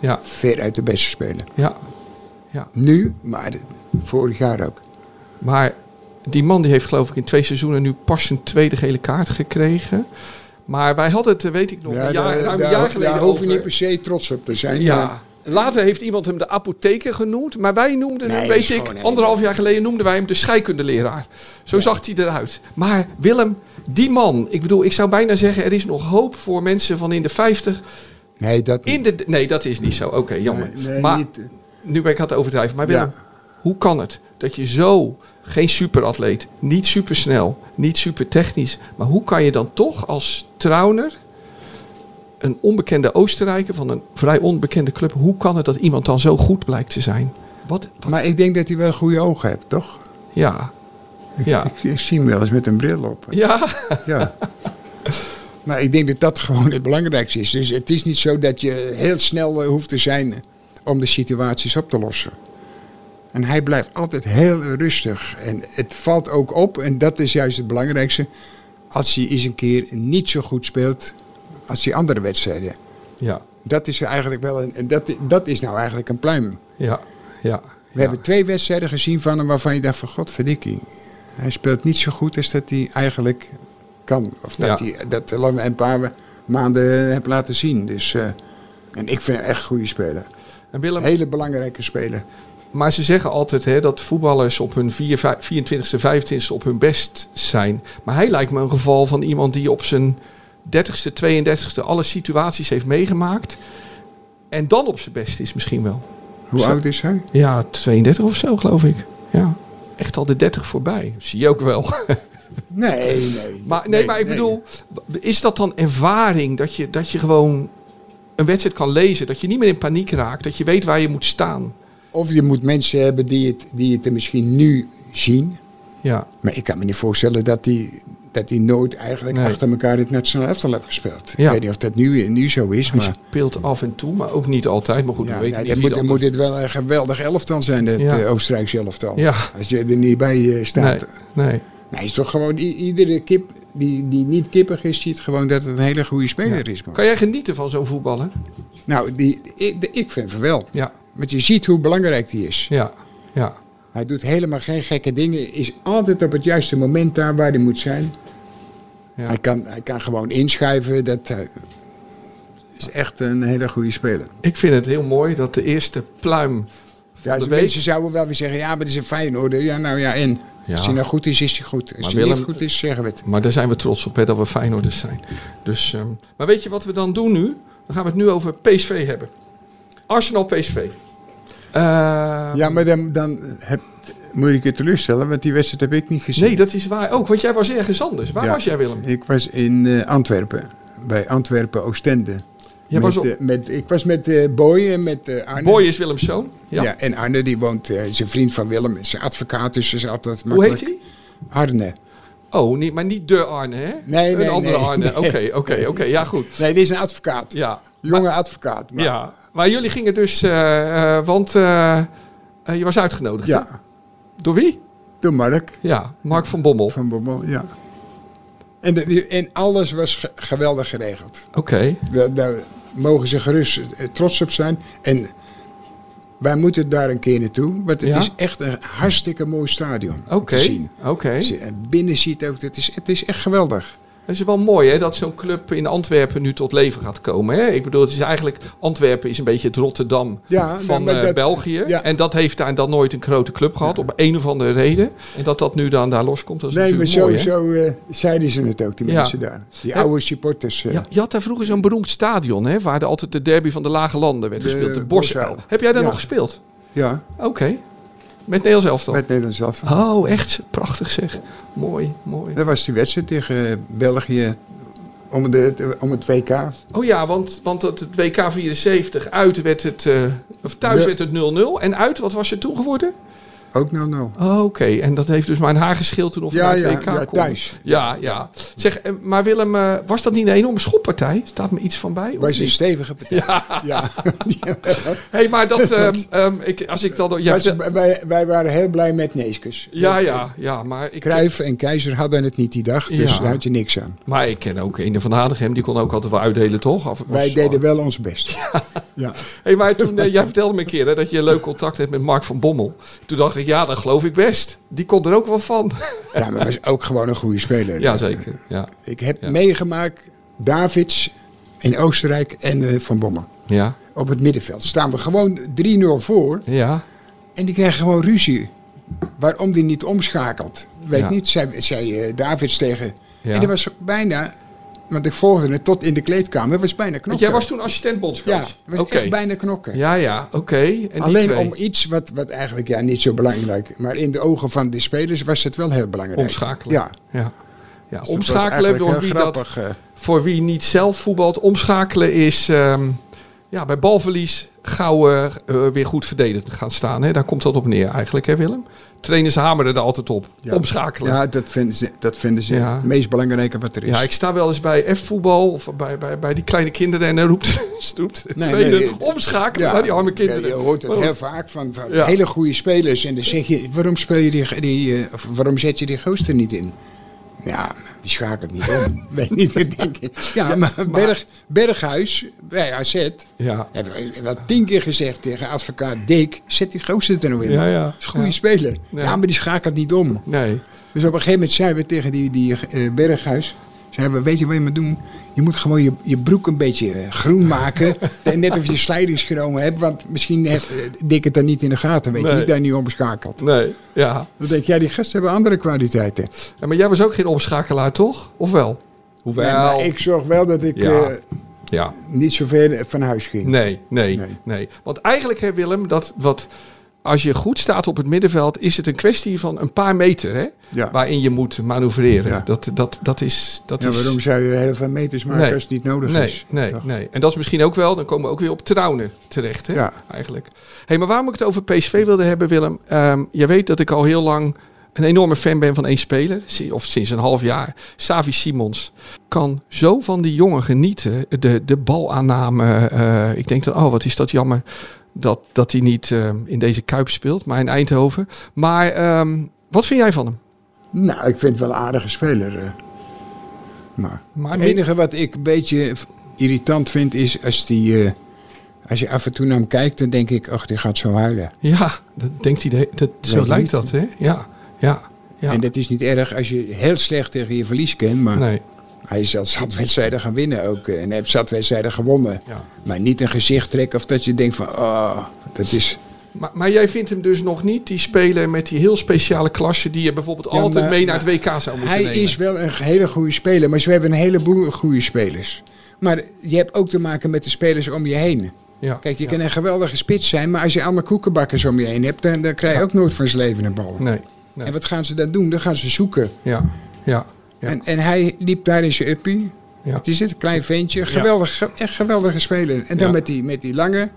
[SPEAKER 5] Ja,
[SPEAKER 3] veruit de beste speler.
[SPEAKER 5] ja.
[SPEAKER 3] Nu, maar vorig jaar ook.
[SPEAKER 5] Maar die man die heeft geloof ik in twee seizoenen nu pas een tweede gele kaart gekregen. Maar wij hadden het, eh, weet ik nog, een jaar,
[SPEAKER 3] daar,
[SPEAKER 5] ruim een
[SPEAKER 3] daar-
[SPEAKER 5] jaar geleden
[SPEAKER 3] daar hoef
[SPEAKER 5] over.
[SPEAKER 3] je niet per se trots op te zijn. maar-
[SPEAKER 5] ja. Later heeft iemand hem de apotheker genoemd. Maar wij noemden
[SPEAKER 3] Nee,
[SPEAKER 5] hem,
[SPEAKER 3] dat
[SPEAKER 5] weet
[SPEAKER 3] is
[SPEAKER 5] ik,
[SPEAKER 3] gewoon een-
[SPEAKER 5] anderhalf jaar geleden noemden wij hem de scheikundeleraar. Zo zag hij eruit. Maar Willem, die man, ik bedoel, ik zou bijna zeggen, er is nog hoop voor mensen van in de 50.
[SPEAKER 3] Nee, dat
[SPEAKER 5] In
[SPEAKER 3] niet.
[SPEAKER 5] de, nee, dat is niet zo. Oké, jammer.
[SPEAKER 3] Nee, nee,
[SPEAKER 5] maar
[SPEAKER 3] niet.
[SPEAKER 5] nu ben ik aan het overdrijven. Maar Willem,
[SPEAKER 3] Ja.
[SPEAKER 5] hoe kan het dat je zo geen superatleet, niet supersnel, niet supertechnisch, maar hoe kan je dan toch als trouwner een onbekende Oostenrijker van een vrij onbekende club, hoe kan het dat iemand dan zo goed blijkt te zijn? Wat? wat-
[SPEAKER 3] Maar ik denk dat hij wel goede ogen hebt, toch?
[SPEAKER 5] Ja. Ja.
[SPEAKER 3] Ik, ik zie hem wel eens met een bril op.
[SPEAKER 5] Ja.
[SPEAKER 3] Ja. maar ik denk dat dat gewoon het belangrijkste is. Dus het is niet zo dat je heel snel eh, hoeft te zijn om de situaties op te lossen. En hij blijft altijd heel rustig. En het valt ook op, en dat is juist het belangrijkste, als hij eens een keer niet zo goed speelt als die andere wedstrijden.
[SPEAKER 5] Ja.
[SPEAKER 3] Dat is eigenlijk wel een, en dat, dat is nou eigenlijk een pluim.
[SPEAKER 5] Ja. Ja.
[SPEAKER 3] We hebben twee wedstrijden gezien van hem waarvan je dacht van godverdikkie. Hij speelt niet zo goed als dat hij eigenlijk kan. Of dat
[SPEAKER 5] Ja.
[SPEAKER 3] hij dat lang een paar maanden hebt laten zien. Dus, eh, en ik vind hem echt een goede speler.
[SPEAKER 5] En Willem,
[SPEAKER 3] Een hele belangrijke speler.
[SPEAKER 5] Maar ze zeggen altijd hè, dat voetballers op hun 4, 5, 24ste, 25ste op hun best zijn. Maar hij lijkt me een geval van iemand die op zijn 30ste, 32ste alle situaties heeft meegemaakt. En dan op zijn best is misschien wel.
[SPEAKER 3] Hoe
[SPEAKER 5] Zo.
[SPEAKER 3] oud is hij?
[SPEAKER 5] Ja, 32 of zo geloof ik. Ja, echt al de 30 voorbij. Zie je ook wel.
[SPEAKER 3] Nee, nee.
[SPEAKER 5] Maar, nee, maar ik bedoel, is dat dan ervaring dat je, dat je gewoon een wedstrijd kan lezen? Dat je niet meer in paniek raakt, dat je weet waar je moet staan?
[SPEAKER 3] Of je moet mensen hebben die het, die het er misschien nu zien.
[SPEAKER 5] Ja,
[SPEAKER 3] Maar ik kan me niet voorstellen dat hij, dat hij nooit eigenlijk
[SPEAKER 5] Nee.
[SPEAKER 3] achter elkaar het nationaal elftal heeft gespeeld.
[SPEAKER 5] Ja.
[SPEAKER 3] Ik weet niet of dat nu, nu zo is,
[SPEAKER 5] Hij
[SPEAKER 3] maar...
[SPEAKER 5] speelt af en toe, maar ook niet altijd. Maar goed,
[SPEAKER 3] Ja,
[SPEAKER 5] we weten
[SPEAKER 3] nou,
[SPEAKER 5] niet
[SPEAKER 3] dan
[SPEAKER 5] wie
[SPEAKER 3] moet,
[SPEAKER 5] de
[SPEAKER 3] dan moet het
[SPEAKER 5] ander-
[SPEAKER 3] wel een geweldig elftal zijn, het
[SPEAKER 5] Ja.
[SPEAKER 3] eh, Oostenrijkse elftal.
[SPEAKER 5] Ja.
[SPEAKER 3] Als je er niet bij eh, staat.
[SPEAKER 5] Nee, nee.
[SPEAKER 3] Nee, is toch gewoon i- iedere kip die, die niet kippig is, ziet gewoon dat het een hele goede speler is. Man.
[SPEAKER 5] Kan jij genieten van zo'n voetballer?
[SPEAKER 3] Nou, die, ik, de- ik vind van wel.
[SPEAKER 5] Ja,
[SPEAKER 3] Want je ziet hoe belangrijk die is.
[SPEAKER 5] ja, ja.
[SPEAKER 3] Hij doet helemaal geen gekke dingen. Is altijd op het juiste moment daar waar hij moet zijn.
[SPEAKER 5] Ja.
[SPEAKER 3] Hij, kan, hij kan gewoon inschuiven. Dat, eh, is echt een hele goede speler.
[SPEAKER 5] Ik vind het heel mooi dat de eerste pluim van
[SPEAKER 3] Ja,
[SPEAKER 5] de
[SPEAKER 3] de
[SPEAKER 5] week...
[SPEAKER 3] mensen zouden wel weer zeggen, ja, maar dat is een Feyenoorder. Ja, nou ja, en?
[SPEAKER 5] Ja.
[SPEAKER 3] Als hij nou goed is, is hij goed. Als
[SPEAKER 5] Maar
[SPEAKER 3] hij
[SPEAKER 5] Willem-
[SPEAKER 3] niet goed is, zeggen we het.
[SPEAKER 5] Maar daar zijn we trots op, hè, dat we Feyenoorders zijn. Dus, ehm, maar weet je wat we dan doen nu? Dan gaan we het nu over PSV hebben. Arsenal-PSV.
[SPEAKER 3] Eh,
[SPEAKER 5] Ehm,
[SPEAKER 3] Ja, maar dan, dan heb, moet ik je teleurstellen, want die wedstrijd heb ik niet gezien.
[SPEAKER 5] Nee, dat is waar ook, want jij was ergens anders. Waar
[SPEAKER 3] Ja.
[SPEAKER 5] was jij, Willem?
[SPEAKER 3] Ik was in eh, Antwerpen, bij Antwerpen Oostende.
[SPEAKER 5] Jij
[SPEAKER 3] met,
[SPEAKER 5] was op...
[SPEAKER 3] eh, met, ik was met eh, Boy en met eh, Arne.
[SPEAKER 5] Boy is Willems zoon. Ja.
[SPEAKER 3] ja. en Arne die woont, eh, is een vriend van Willem, is een advocaat, dus is altijd
[SPEAKER 5] Hoe heet
[SPEAKER 3] makkelijk.
[SPEAKER 5] hij?
[SPEAKER 3] Arne.
[SPEAKER 5] Oh, niet, maar niet de Arne, hè?
[SPEAKER 3] nee,
[SPEAKER 5] Een andere
[SPEAKER 3] nee,
[SPEAKER 5] Arne.
[SPEAKER 3] nee.
[SPEAKER 5] Oké, oké, oké. Ja, goed.
[SPEAKER 3] Nee, dit is een advocaat.
[SPEAKER 5] Ja.
[SPEAKER 3] Jonge advocaat. maar-
[SPEAKER 5] ja. Maar jullie gingen dus, eh, eh, want eh, eh, je was uitgenodigd. hè?
[SPEAKER 3] ja.
[SPEAKER 5] Door wie?
[SPEAKER 3] Door Mark
[SPEAKER 5] Ja, Mark van Bommel. Oké.
[SPEAKER 3] van Bommel, ja. En, de- en alles was ge- geweldig geregeld. Daar, daar mogen ze gerust eh, trots op zijn. En wij moeten daar een keer naartoe, want het
[SPEAKER 5] Ja?
[SPEAKER 3] is echt een hartstikke mooi stadion
[SPEAKER 5] Oké.
[SPEAKER 3] om te zien.
[SPEAKER 5] Oké.
[SPEAKER 3] Als je er binnen ziet ook, het is, het is echt geweldig.
[SPEAKER 5] Het is wel mooi hè, dat zo'n club in Antwerpen nu tot leven gaat komen. Hè? Ik bedoel, het is eigenlijk, Antwerpen is een beetje het Rotterdam
[SPEAKER 3] Ja,
[SPEAKER 5] van
[SPEAKER 3] maar
[SPEAKER 5] eh,
[SPEAKER 3] dat-
[SPEAKER 5] België.
[SPEAKER 3] ja.
[SPEAKER 5] En dat heeft daar dan nooit een grote club gehad, op een of andere reden. En dat dat nu dan daar loskomt, dat is
[SPEAKER 3] nee, maar
[SPEAKER 5] natuurlijk mooi. hè?
[SPEAKER 3] sowieso eh, zeiden ze het ook, die
[SPEAKER 5] Ja.
[SPEAKER 3] mensen daar. Die
[SPEAKER 5] Ja.
[SPEAKER 3] oude supporters. eh,
[SPEAKER 5] Ja, je had daar vroeger zo'n beroemd stadion, hè, waar de- altijd de derby van de lage landen werd
[SPEAKER 3] De
[SPEAKER 5] gespeeld. De Bosuil.
[SPEAKER 3] Bosuil.
[SPEAKER 5] Heb jij daar
[SPEAKER 3] Ja.
[SPEAKER 5] nog gespeeld?
[SPEAKER 3] ja,
[SPEAKER 5] Oké. Met Nederlands elftal.
[SPEAKER 3] met Nederland zelf.
[SPEAKER 5] Oh, echt prachtig zeg. Mooi, mooi.
[SPEAKER 3] Dat was die wedstrijd tegen eh, België om, de, om het WK.
[SPEAKER 5] Oh ja, want, want dat het WK 74 uit werd het, eh, of thuis
[SPEAKER 3] Ja.
[SPEAKER 5] werd het 0-0 en uit wat was het toen geworden?
[SPEAKER 3] Ook 0-0.
[SPEAKER 5] Oh, Oké, en dat heeft dus mijn haar geschild toen of
[SPEAKER 3] Ja,
[SPEAKER 5] naar het
[SPEAKER 3] ja,
[SPEAKER 5] WK
[SPEAKER 3] ja,
[SPEAKER 5] kon.
[SPEAKER 3] thuis.
[SPEAKER 5] Ja, ja. Zeg, eh, maar Willem, eh, was dat niet een enorme schoppartij? Staat me iets van bij? of
[SPEAKER 3] Was een
[SPEAKER 5] niet?
[SPEAKER 3] stevige partij. Ja.
[SPEAKER 5] hey, maar dat, ehm, ehm, ik, als ik dan... Ja,
[SPEAKER 3] Was- wij, wij waren heel blij met Neeskens.
[SPEAKER 5] ja, ja,
[SPEAKER 3] eh,
[SPEAKER 5] ja, maar ik...
[SPEAKER 3] Cruijff en Keizer hadden het niet die dag, dus
[SPEAKER 5] Ja.
[SPEAKER 3] daar had je niks aan.
[SPEAKER 5] Maar ik ken ook Ene van Hanegem, die kon ook altijd wel uitdelen, toch? Of- of-
[SPEAKER 3] Wij deden wel ons best. Ja.
[SPEAKER 5] hey, maar toen, eh, jij vertelde me een keer hè, dat je een leuk contact hebt met Mark van Bommel. Toen dacht ik, ja, dat geloof ik best. Die kon er ook wel van.
[SPEAKER 3] ja, maar was ook gewoon een goede speler.
[SPEAKER 5] Ja, zeker. Ja.
[SPEAKER 3] Ik heb
[SPEAKER 5] Ja.
[SPEAKER 3] meegemaakt Davids in Oostenrijk en eh, Van Bommel.
[SPEAKER 5] Ja.
[SPEAKER 3] Op het middenveld staan we gewoon 3-0 voor
[SPEAKER 5] Ja.
[SPEAKER 3] en die krijgen gewoon ruzie. Waarom die niet omschakelt, weet
[SPEAKER 5] Ja.
[SPEAKER 3] niet, zei, zei eh, Davids tegen.
[SPEAKER 5] Ja.
[SPEAKER 3] En dat was bijna, want ik volgde het tot in de kleedkamer, het was bijna knokken.
[SPEAKER 5] Want jij was toen assistent bondscoach.
[SPEAKER 3] Ja, het was
[SPEAKER 5] Oké.
[SPEAKER 3] echt bijna knokken.
[SPEAKER 5] Ja, ja, oké. En die
[SPEAKER 3] Alleen
[SPEAKER 5] twee?
[SPEAKER 3] om iets wat, wat eigenlijk ja, niet zo belangrijk maar in de ogen van de spelers was het wel heel belangrijk.
[SPEAKER 5] omschakelen.
[SPEAKER 3] Ja.
[SPEAKER 5] ja.
[SPEAKER 3] Dus dat
[SPEAKER 5] Ja,
[SPEAKER 3] was
[SPEAKER 5] omschakelen
[SPEAKER 3] eigenlijk
[SPEAKER 5] door
[SPEAKER 3] heel
[SPEAKER 5] wie dat,
[SPEAKER 3] grappig, eh.
[SPEAKER 5] voor wie niet zelf voetbalt. Omschakelen is ehm, ja, bij balverlies gauw eh, eh, weer goed verdedigd gaan staan. Hè? Daar komt dat op neer eigenlijk, hè Willem? Trainers hameren er altijd op.
[SPEAKER 3] Ja.
[SPEAKER 5] Omschakelen.
[SPEAKER 3] Ja, dat vinden ze, dat vinden ze
[SPEAKER 5] Ja.
[SPEAKER 3] het meest belangrijke wat er is.
[SPEAKER 5] Ja, ik sta wel eens bij F-voetbal of bij, bij, bij die kleine kinderen en dan roept, roept de
[SPEAKER 3] Nee,
[SPEAKER 5] trainer,
[SPEAKER 3] nee, het-
[SPEAKER 5] omschakelen
[SPEAKER 3] Ja,
[SPEAKER 5] naar die arme kinderen. Oh,
[SPEAKER 3] Je, je hoort het
[SPEAKER 5] Waarom?
[SPEAKER 3] heel vaak van, van
[SPEAKER 5] Ja.
[SPEAKER 3] hele goede spelers. En dan zeg je, waarom, speel je die, die, eh, of waarom zet je die gozer niet in? Ja, die schakelt niet om. Weet niet, ik denk Ja, maar, Berg, Berghuis bij AZ...
[SPEAKER 5] Ja.
[SPEAKER 3] Hebben we eh, wel tien keer gezegd tegen advocaat Dick... zet die gozer er nou in.
[SPEAKER 5] Ja, ja.
[SPEAKER 3] Dat is een goede
[SPEAKER 5] Ja.
[SPEAKER 3] speler.
[SPEAKER 5] Ja.
[SPEAKER 3] Ja. maar die schakelt niet om.
[SPEAKER 5] Nee.
[SPEAKER 3] Dus op een gegeven moment zeiden we tegen die, die eh, Berghuis... Zeiden we, weet je wat je moet doen? Je moet gewoon je, je broek een beetje eh, groen maken. En Net of je slijdings genomen hebt. Want misschien heeft eh, Dick het dan niet in de gaten. Weet
[SPEAKER 5] Nee.
[SPEAKER 3] je, die daar niet omschakelt.
[SPEAKER 5] Nee. Ja.
[SPEAKER 3] Dan denk je, ja, die gasten hebben andere kwaliteiten.
[SPEAKER 5] Ja, maar jij was ook geen omschakelaar, toch? Of wel? Hoewel.
[SPEAKER 3] Nee, maar ik zorg wel dat ik
[SPEAKER 5] Ja.
[SPEAKER 3] eh,
[SPEAKER 5] Ja.
[SPEAKER 3] niet zo ver van huis ging.
[SPEAKER 5] Nee, nee, nee,
[SPEAKER 3] Nee.
[SPEAKER 5] Want eigenlijk, hè, Willem, dat wat. Als je goed staat op het middenveld, is het een kwestie van een paar meter hè?
[SPEAKER 3] Ja.
[SPEAKER 5] waarin je moet manoeuvreren.
[SPEAKER 3] Ja.
[SPEAKER 5] Dat, dat, dat is. Dat
[SPEAKER 3] Ja,
[SPEAKER 5] is
[SPEAKER 3] waarom zou je heel veel meters maken
[SPEAKER 5] Nee.
[SPEAKER 3] als het niet nodig
[SPEAKER 5] nee,
[SPEAKER 3] is?
[SPEAKER 5] nee,
[SPEAKER 3] Ja.
[SPEAKER 5] nee. En dat is misschien ook wel, dan komen we ook weer op Trouwner terecht. Hè?
[SPEAKER 3] Ja.
[SPEAKER 5] Eigenlijk. hey, maar waarom ik het over PSV wilde hebben, Willem. Ehm je weet dat ik al heel lang een enorme fan ben van één speler. si- Of sinds een half jaar. Savi Simons kan zo van die jongen genieten. De, de balaanname. eh, ik denk dan, oh wat is dat jammer. Dat, dat hij niet ehm, in deze Kuip speelt, maar in Eindhoven. Maar ehm, wat vind jij van hem?
[SPEAKER 3] Nou, ik vind het wel een aardige speler. eh. Maar,
[SPEAKER 5] Maar
[SPEAKER 3] het
[SPEAKER 5] min-
[SPEAKER 3] enige wat ik een beetje irritant vind is als die... eh, als je af en toe naar hem kijkt, dan denk ik, ach, die gaat zo huilen.
[SPEAKER 5] Ja, dat denkt hij. de- dat, zo
[SPEAKER 3] Weet
[SPEAKER 5] lijkt
[SPEAKER 3] niet.
[SPEAKER 5] dat, hè? Ja, ja, ja.
[SPEAKER 3] En dat is niet erg als je heel slecht tegen je verlies kent, maar
[SPEAKER 5] Nee.
[SPEAKER 3] Hij is al zat wedstrijden gaan winnen ook. eh, En heeft zat wedstrijden gewonnen.
[SPEAKER 5] Ja.
[SPEAKER 3] Maar niet een gezicht trekken of dat je denkt van... Oh, dat is...
[SPEAKER 5] Maar, maar jij vindt hem dus nog niet die speler met die heel speciale klasse die je bijvoorbeeld
[SPEAKER 3] Ja,
[SPEAKER 5] altijd
[SPEAKER 3] maar-
[SPEAKER 5] mee naar het WK zou moeten
[SPEAKER 3] Hij
[SPEAKER 5] nemen.
[SPEAKER 3] is wel een hele goede speler. Maar ze hebben een heleboel goede spelers. Maar je hebt ook te maken met de spelers om je heen.
[SPEAKER 5] Ja.
[SPEAKER 3] Kijk, je
[SPEAKER 5] Ja.
[SPEAKER 3] kan een geweldige spits zijn, maar als je allemaal koekenbakkers om je heen hebt, dan, dan krijg je ook nooit van zijn leven een bal.
[SPEAKER 5] Nee. nee.
[SPEAKER 3] En wat gaan ze dan doen? Dan gaan ze zoeken.
[SPEAKER 5] Ja. Ja. Ja.
[SPEAKER 3] En, en hij liep daar in zijn uppie.
[SPEAKER 5] Ja.
[SPEAKER 3] Wat is het? Klein ventje. Geweldig, ge- echt geweldige speler. En dan
[SPEAKER 5] Ja.
[SPEAKER 3] met, die, met die lange,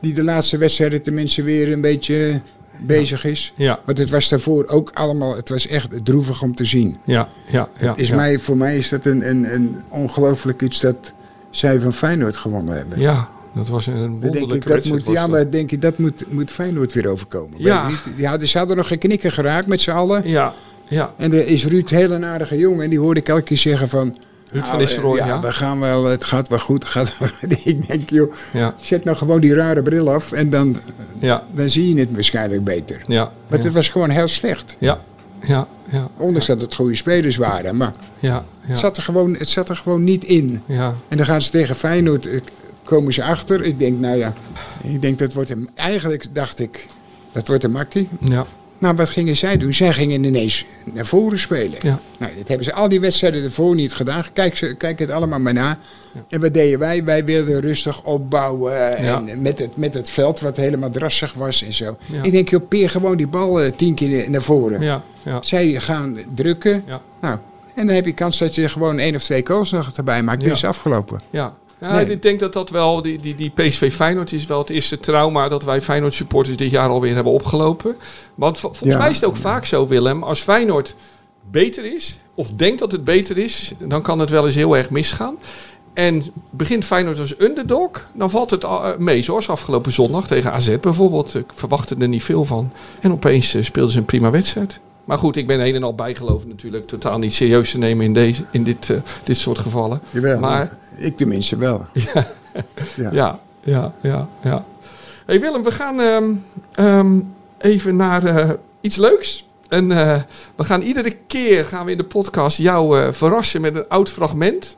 [SPEAKER 3] die de laatste wedstrijden tenminste weer een beetje bezig is.
[SPEAKER 5] Ja.
[SPEAKER 3] Want het was daarvoor ook allemaal, het was echt droevig om te zien.
[SPEAKER 5] Ja. Ja. Ja.
[SPEAKER 3] Is
[SPEAKER 5] ja.
[SPEAKER 3] mij, voor mij is dat een, een, een ongelooflijk iets dat zij van Feyenoord gewonnen hebben.
[SPEAKER 5] Ja. Dat was een
[SPEAKER 3] Dan denk ik,
[SPEAKER 5] wonderlijke
[SPEAKER 3] dat
[SPEAKER 5] wedstrijd.
[SPEAKER 3] moet,
[SPEAKER 5] was
[SPEAKER 3] ja,
[SPEAKER 5] dat.
[SPEAKER 3] maar denk ik, dat moet, moet Feyenoord weer overkomen. Weet
[SPEAKER 5] Ja.
[SPEAKER 3] ik niet. ja dus ze hadden nog geen knikken geraakt met z'n allen.
[SPEAKER 5] ja. Ja.
[SPEAKER 3] En er is Ruud heel een aardige jongen. En die hoorde ik elke keer zeggen van...
[SPEAKER 5] Ruud van
[SPEAKER 3] nou,
[SPEAKER 5] Nistelrooy,
[SPEAKER 3] eh,
[SPEAKER 5] ja.
[SPEAKER 3] we gaan wel, het gaat wel goed. het Gaat wel goed. ik denk, joh,
[SPEAKER 5] Ja.
[SPEAKER 3] zet nou gewoon die rare bril af. En dan,
[SPEAKER 5] Ja.
[SPEAKER 3] dan zie je het waarschijnlijk beter.
[SPEAKER 5] Ja.
[SPEAKER 3] Want het was gewoon heel slecht.
[SPEAKER 5] Ja. Ja. Ja.
[SPEAKER 3] Ondanks dat het goede spelers waren. Maar
[SPEAKER 5] Ja.
[SPEAKER 3] het,
[SPEAKER 5] Ja.
[SPEAKER 3] zat er gewoon, het zat er gewoon niet in.
[SPEAKER 5] Ja.
[SPEAKER 3] En dan gaan ze tegen Feyenoord, eh, komen ze achter. Ik denk, nou ja, ik denk dat wordt hem... Eigenlijk dacht ik, dat wordt een makkie.
[SPEAKER 5] Ja.
[SPEAKER 3] Maar wat gingen zij doen? Zij gingen ineens naar voren spelen.
[SPEAKER 5] Ja.
[SPEAKER 3] Nou, dat hebben ze al die wedstrijden ervoor niet gedaan. Kijk, ze, kijk het allemaal maar na. En wat deden wij? Wij wilden rustig opbouwen. eh,
[SPEAKER 5] Ja.
[SPEAKER 3] En met, het, met het veld wat helemaal drassig was en zo.
[SPEAKER 5] Ja.
[SPEAKER 3] Ik denk, joh, peer gewoon die bal eh, tien keer naar voren.
[SPEAKER 5] Ja. Ja.
[SPEAKER 3] Zij gaan drukken.
[SPEAKER 5] Ja.
[SPEAKER 3] Nou, en dan heb je kans dat je gewoon één of twee goals nog erbij maakt.
[SPEAKER 5] Ja.
[SPEAKER 3] Dit is afgelopen.
[SPEAKER 5] Ja. Ja,
[SPEAKER 3] Nee.
[SPEAKER 5] ik denk dat dat wel, die, die, die PSV Feyenoord is wel het eerste trauma dat wij Feyenoord supporters dit jaar alweer hebben opgelopen. Want vo- volgens
[SPEAKER 3] Ja.
[SPEAKER 5] mij is het ook vaak zo, Willem, als Feyenoord beter is, of denkt dat het beter is, dan kan het wel eens heel erg misgaan. En begint Feyenoord als underdog, dan valt het al- eh, mee. Zoals afgelopen zondag tegen AZ bijvoorbeeld. Ik verwachtte er niet veel van. En opeens eh, speelden ze een prima wedstrijd. Maar goed, ik ben een en al bijgeloof natuurlijk. Totaal niet serieus te nemen in, deze, in dit, eh, dit soort gevallen.
[SPEAKER 3] Jawel,
[SPEAKER 5] Maar-
[SPEAKER 3] ik tenminste wel. Ja.
[SPEAKER 5] Ja, ja, ja, ja. hey Willem, we gaan ehm, ehm, even naar eh, iets leuks. En eh, we gaan iedere keer gaan we in de podcast jou eh, verrassen met een oud fragment.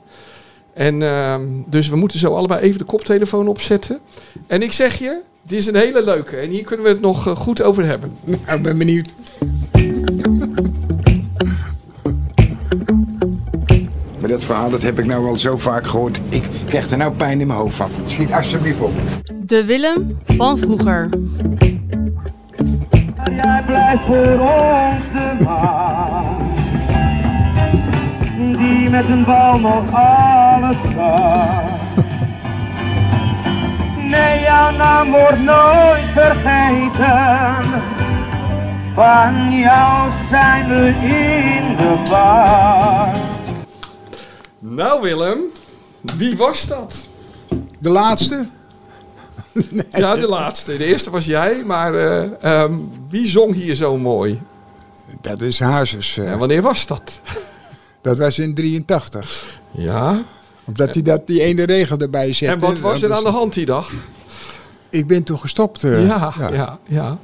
[SPEAKER 5] En ehm, dus we moeten zo allebei even de koptelefoon opzetten. En ik zeg je, dit is een hele leuke. En hier kunnen we het nog eh, goed over hebben.
[SPEAKER 3] Nou, ik ben benieuwd.
[SPEAKER 6] Maar dat verhaal dat heb ik nou al zo vaak gehoord. Ik krijg er nou pijn in mijn hoofd van.
[SPEAKER 3] Schiet alsjeblieft op.
[SPEAKER 4] De Willem van vroeger.
[SPEAKER 7] Jij blijft voor ons de man die met een bal nog alles kan. Nee, jouw naam wordt nooit vergeten. Van jou zijn we in de war.
[SPEAKER 5] Nou Willem, wie was dat?
[SPEAKER 3] De laatste?
[SPEAKER 5] Ja, de laatste. De eerste was jij, maar eh, ehm, wie zong hier zo mooi?
[SPEAKER 3] Dat is Hazes. eh.
[SPEAKER 5] En wanneer was dat?
[SPEAKER 3] Dat was in 83.
[SPEAKER 5] Ja,
[SPEAKER 3] Omdat hij dat die ene regel erbij zette.
[SPEAKER 5] En wat was er aan de hand die dag?
[SPEAKER 3] Ik ben toen gestopt.
[SPEAKER 5] dus Ja,
[SPEAKER 3] eh,
[SPEAKER 5] ja, ja.